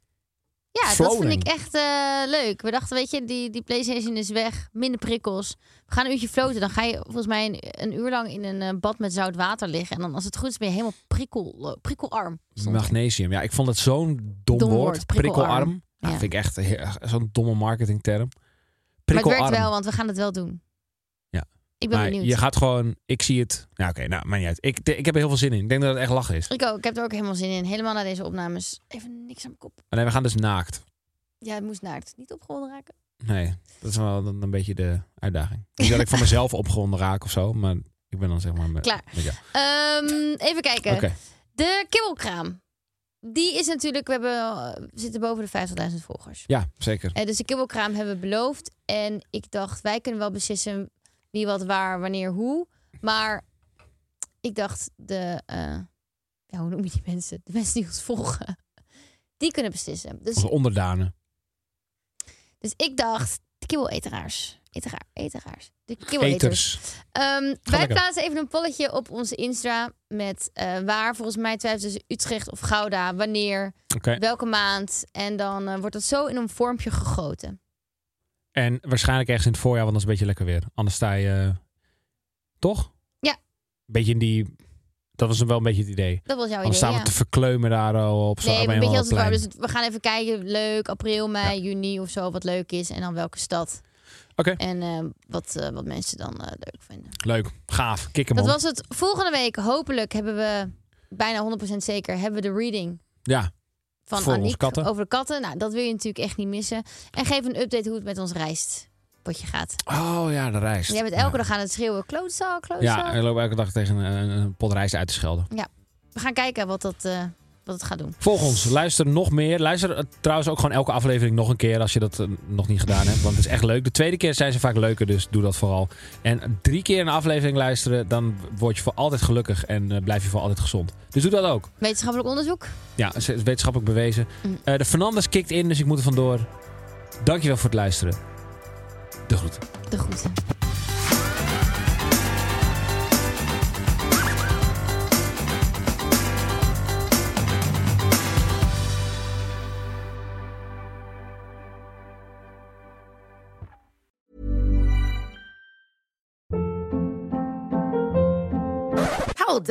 S2: Ja, dat
S1: Floating.
S2: vind ik echt eh, leuk. We dachten, weet je, die, die PlayStation is weg. Minder prikkels. We gaan een uurtje floten. Dan ga je volgens mij een, een uur lang in een eh, bad met zout water liggen. En dan als het goed is ben je helemaal prikkel, eh, prikkelarm.
S1: Nou,
S2: stond er.
S1: Magnesium. Ja, ik vond het zo'n dom,
S2: Dom
S1: woord.
S2: woord,
S1: Prikkelarm.
S2: prikkelarm.
S1: Dat
S2: Ja.
S1: vind ik echt heel- zo'n domme marketingterm.
S2: Maar het
S1: Prikkelarm.
S2: werkt wel, want we gaan het wel doen.
S1: Ja.
S2: Ik ben
S1: Maar
S2: benieuwd.
S1: je gaat gewoon... Ik zie het. Nou, oké. nou, maar niet uit. Ik, ik heb er heel veel zin in. Ik denk dat het echt lachen is.
S2: Ik ook. Ik heb er ook helemaal zin in. Helemaal na deze opnames. Even niks aan mijn kop.
S1: Alleen, we gaan dus naakt.
S2: Ja, het moest naakt. Niet opgewonden raken.
S1: Nee, dat is wel een, een beetje de uitdaging. Niet dat ik van mezelf opgewonden raak of zo, maar ik ben dan zeg maar... Met,
S2: Klaar.
S1: met jou.
S2: Ehm, even kijken.
S1: Oké.
S2: De kibbelkraam. Die is natuurlijk... We, hebben, eh, we zitten boven de 50.000 volgers.
S1: Ja, zeker.
S2: Eh, dus de kibbelkraam hebben we beloofd. En ik dacht, wij kunnen wel beslissen wie wat waar, wanneer, hoe. Maar ik dacht, de... eh, ja, hoe noem je die mensen? De mensen die ons volgen. Die kunnen beslissen. Dus
S1: Onze onderdanen.
S2: Dus ik dacht, de kibbeleteraars. Eteraar, eteraars. De kibbeleters.
S1: Eters.
S2: Ehm, wij
S1: lekker.
S2: plaatsen even een polletje op onze Insta met eh, waar, volgens mij twijfels tussen Utrecht of Gouda, wanneer,
S1: Oké.
S2: welke maand. En dan eh, wordt dat zo in een vormpje gegoten.
S1: En waarschijnlijk ergens in het voorjaar, want dan is het een beetje lekker weer. Anders sta je... eh, Toch?
S2: Ja.
S1: Beetje in die... Dat was wel een beetje het idee.
S2: Dat was jouw
S1: Dan
S2: idee,
S1: staan we
S2: ja.
S1: te verkleumen daar al op zo'n
S2: Nee, een beetje als het
S1: plein.
S2: warm. Dus het- we gaan even kijken, leuk, april, mei, juni of zo, wat leuk is. En dan welke stad.
S1: Oké.
S2: En eh, wat, eh, wat mensen dan eh, leuk vinden.
S1: Leuk, gaaf, kik hem
S2: Dat
S1: op.
S2: was het. Volgende week, hopelijk, hebben we bijna 100% zeker, hebben we de reading
S1: Ja,
S2: van
S1: Voor
S2: Aniek
S1: onze katten.
S2: over de katten. Nou, dat wil je natuurlijk echt niet missen. En geef een update hoe het met ons reispotje gaat.
S1: oh ja, de rijst.
S2: Jij bent elke dag aan het schreeuwen, klootzak, klootzak.
S1: Ja, eh. ik loop elke dag tegen een, een pot rijst uit te schelden.
S2: We gaan kijken wat, dat, eh, wat het gaat doen.
S1: Volg ons, luister nog meer. Luister eh, trouwens ook gewoon elke aflevering nog een keer als je dat eh, nog niet gedaan hebt. Want het is echt leuk. De tweede keer zijn ze vaak leuker, dus doe dat vooral. En drie keer een aflevering luisteren, dan word je voor altijd gelukkig en eh, blijf je voor altijd gezond. Dus doe dat ook.
S2: Wetenschappelijk onderzoek.
S1: Ja, het is wetenschappelijk bewezen.
S2: Mm.
S1: Eh, de Fernandes kikt in, dus ik moet er vandoor. Dankjewel voor het luisteren. De groeten.
S2: De groeten.
S7: Hold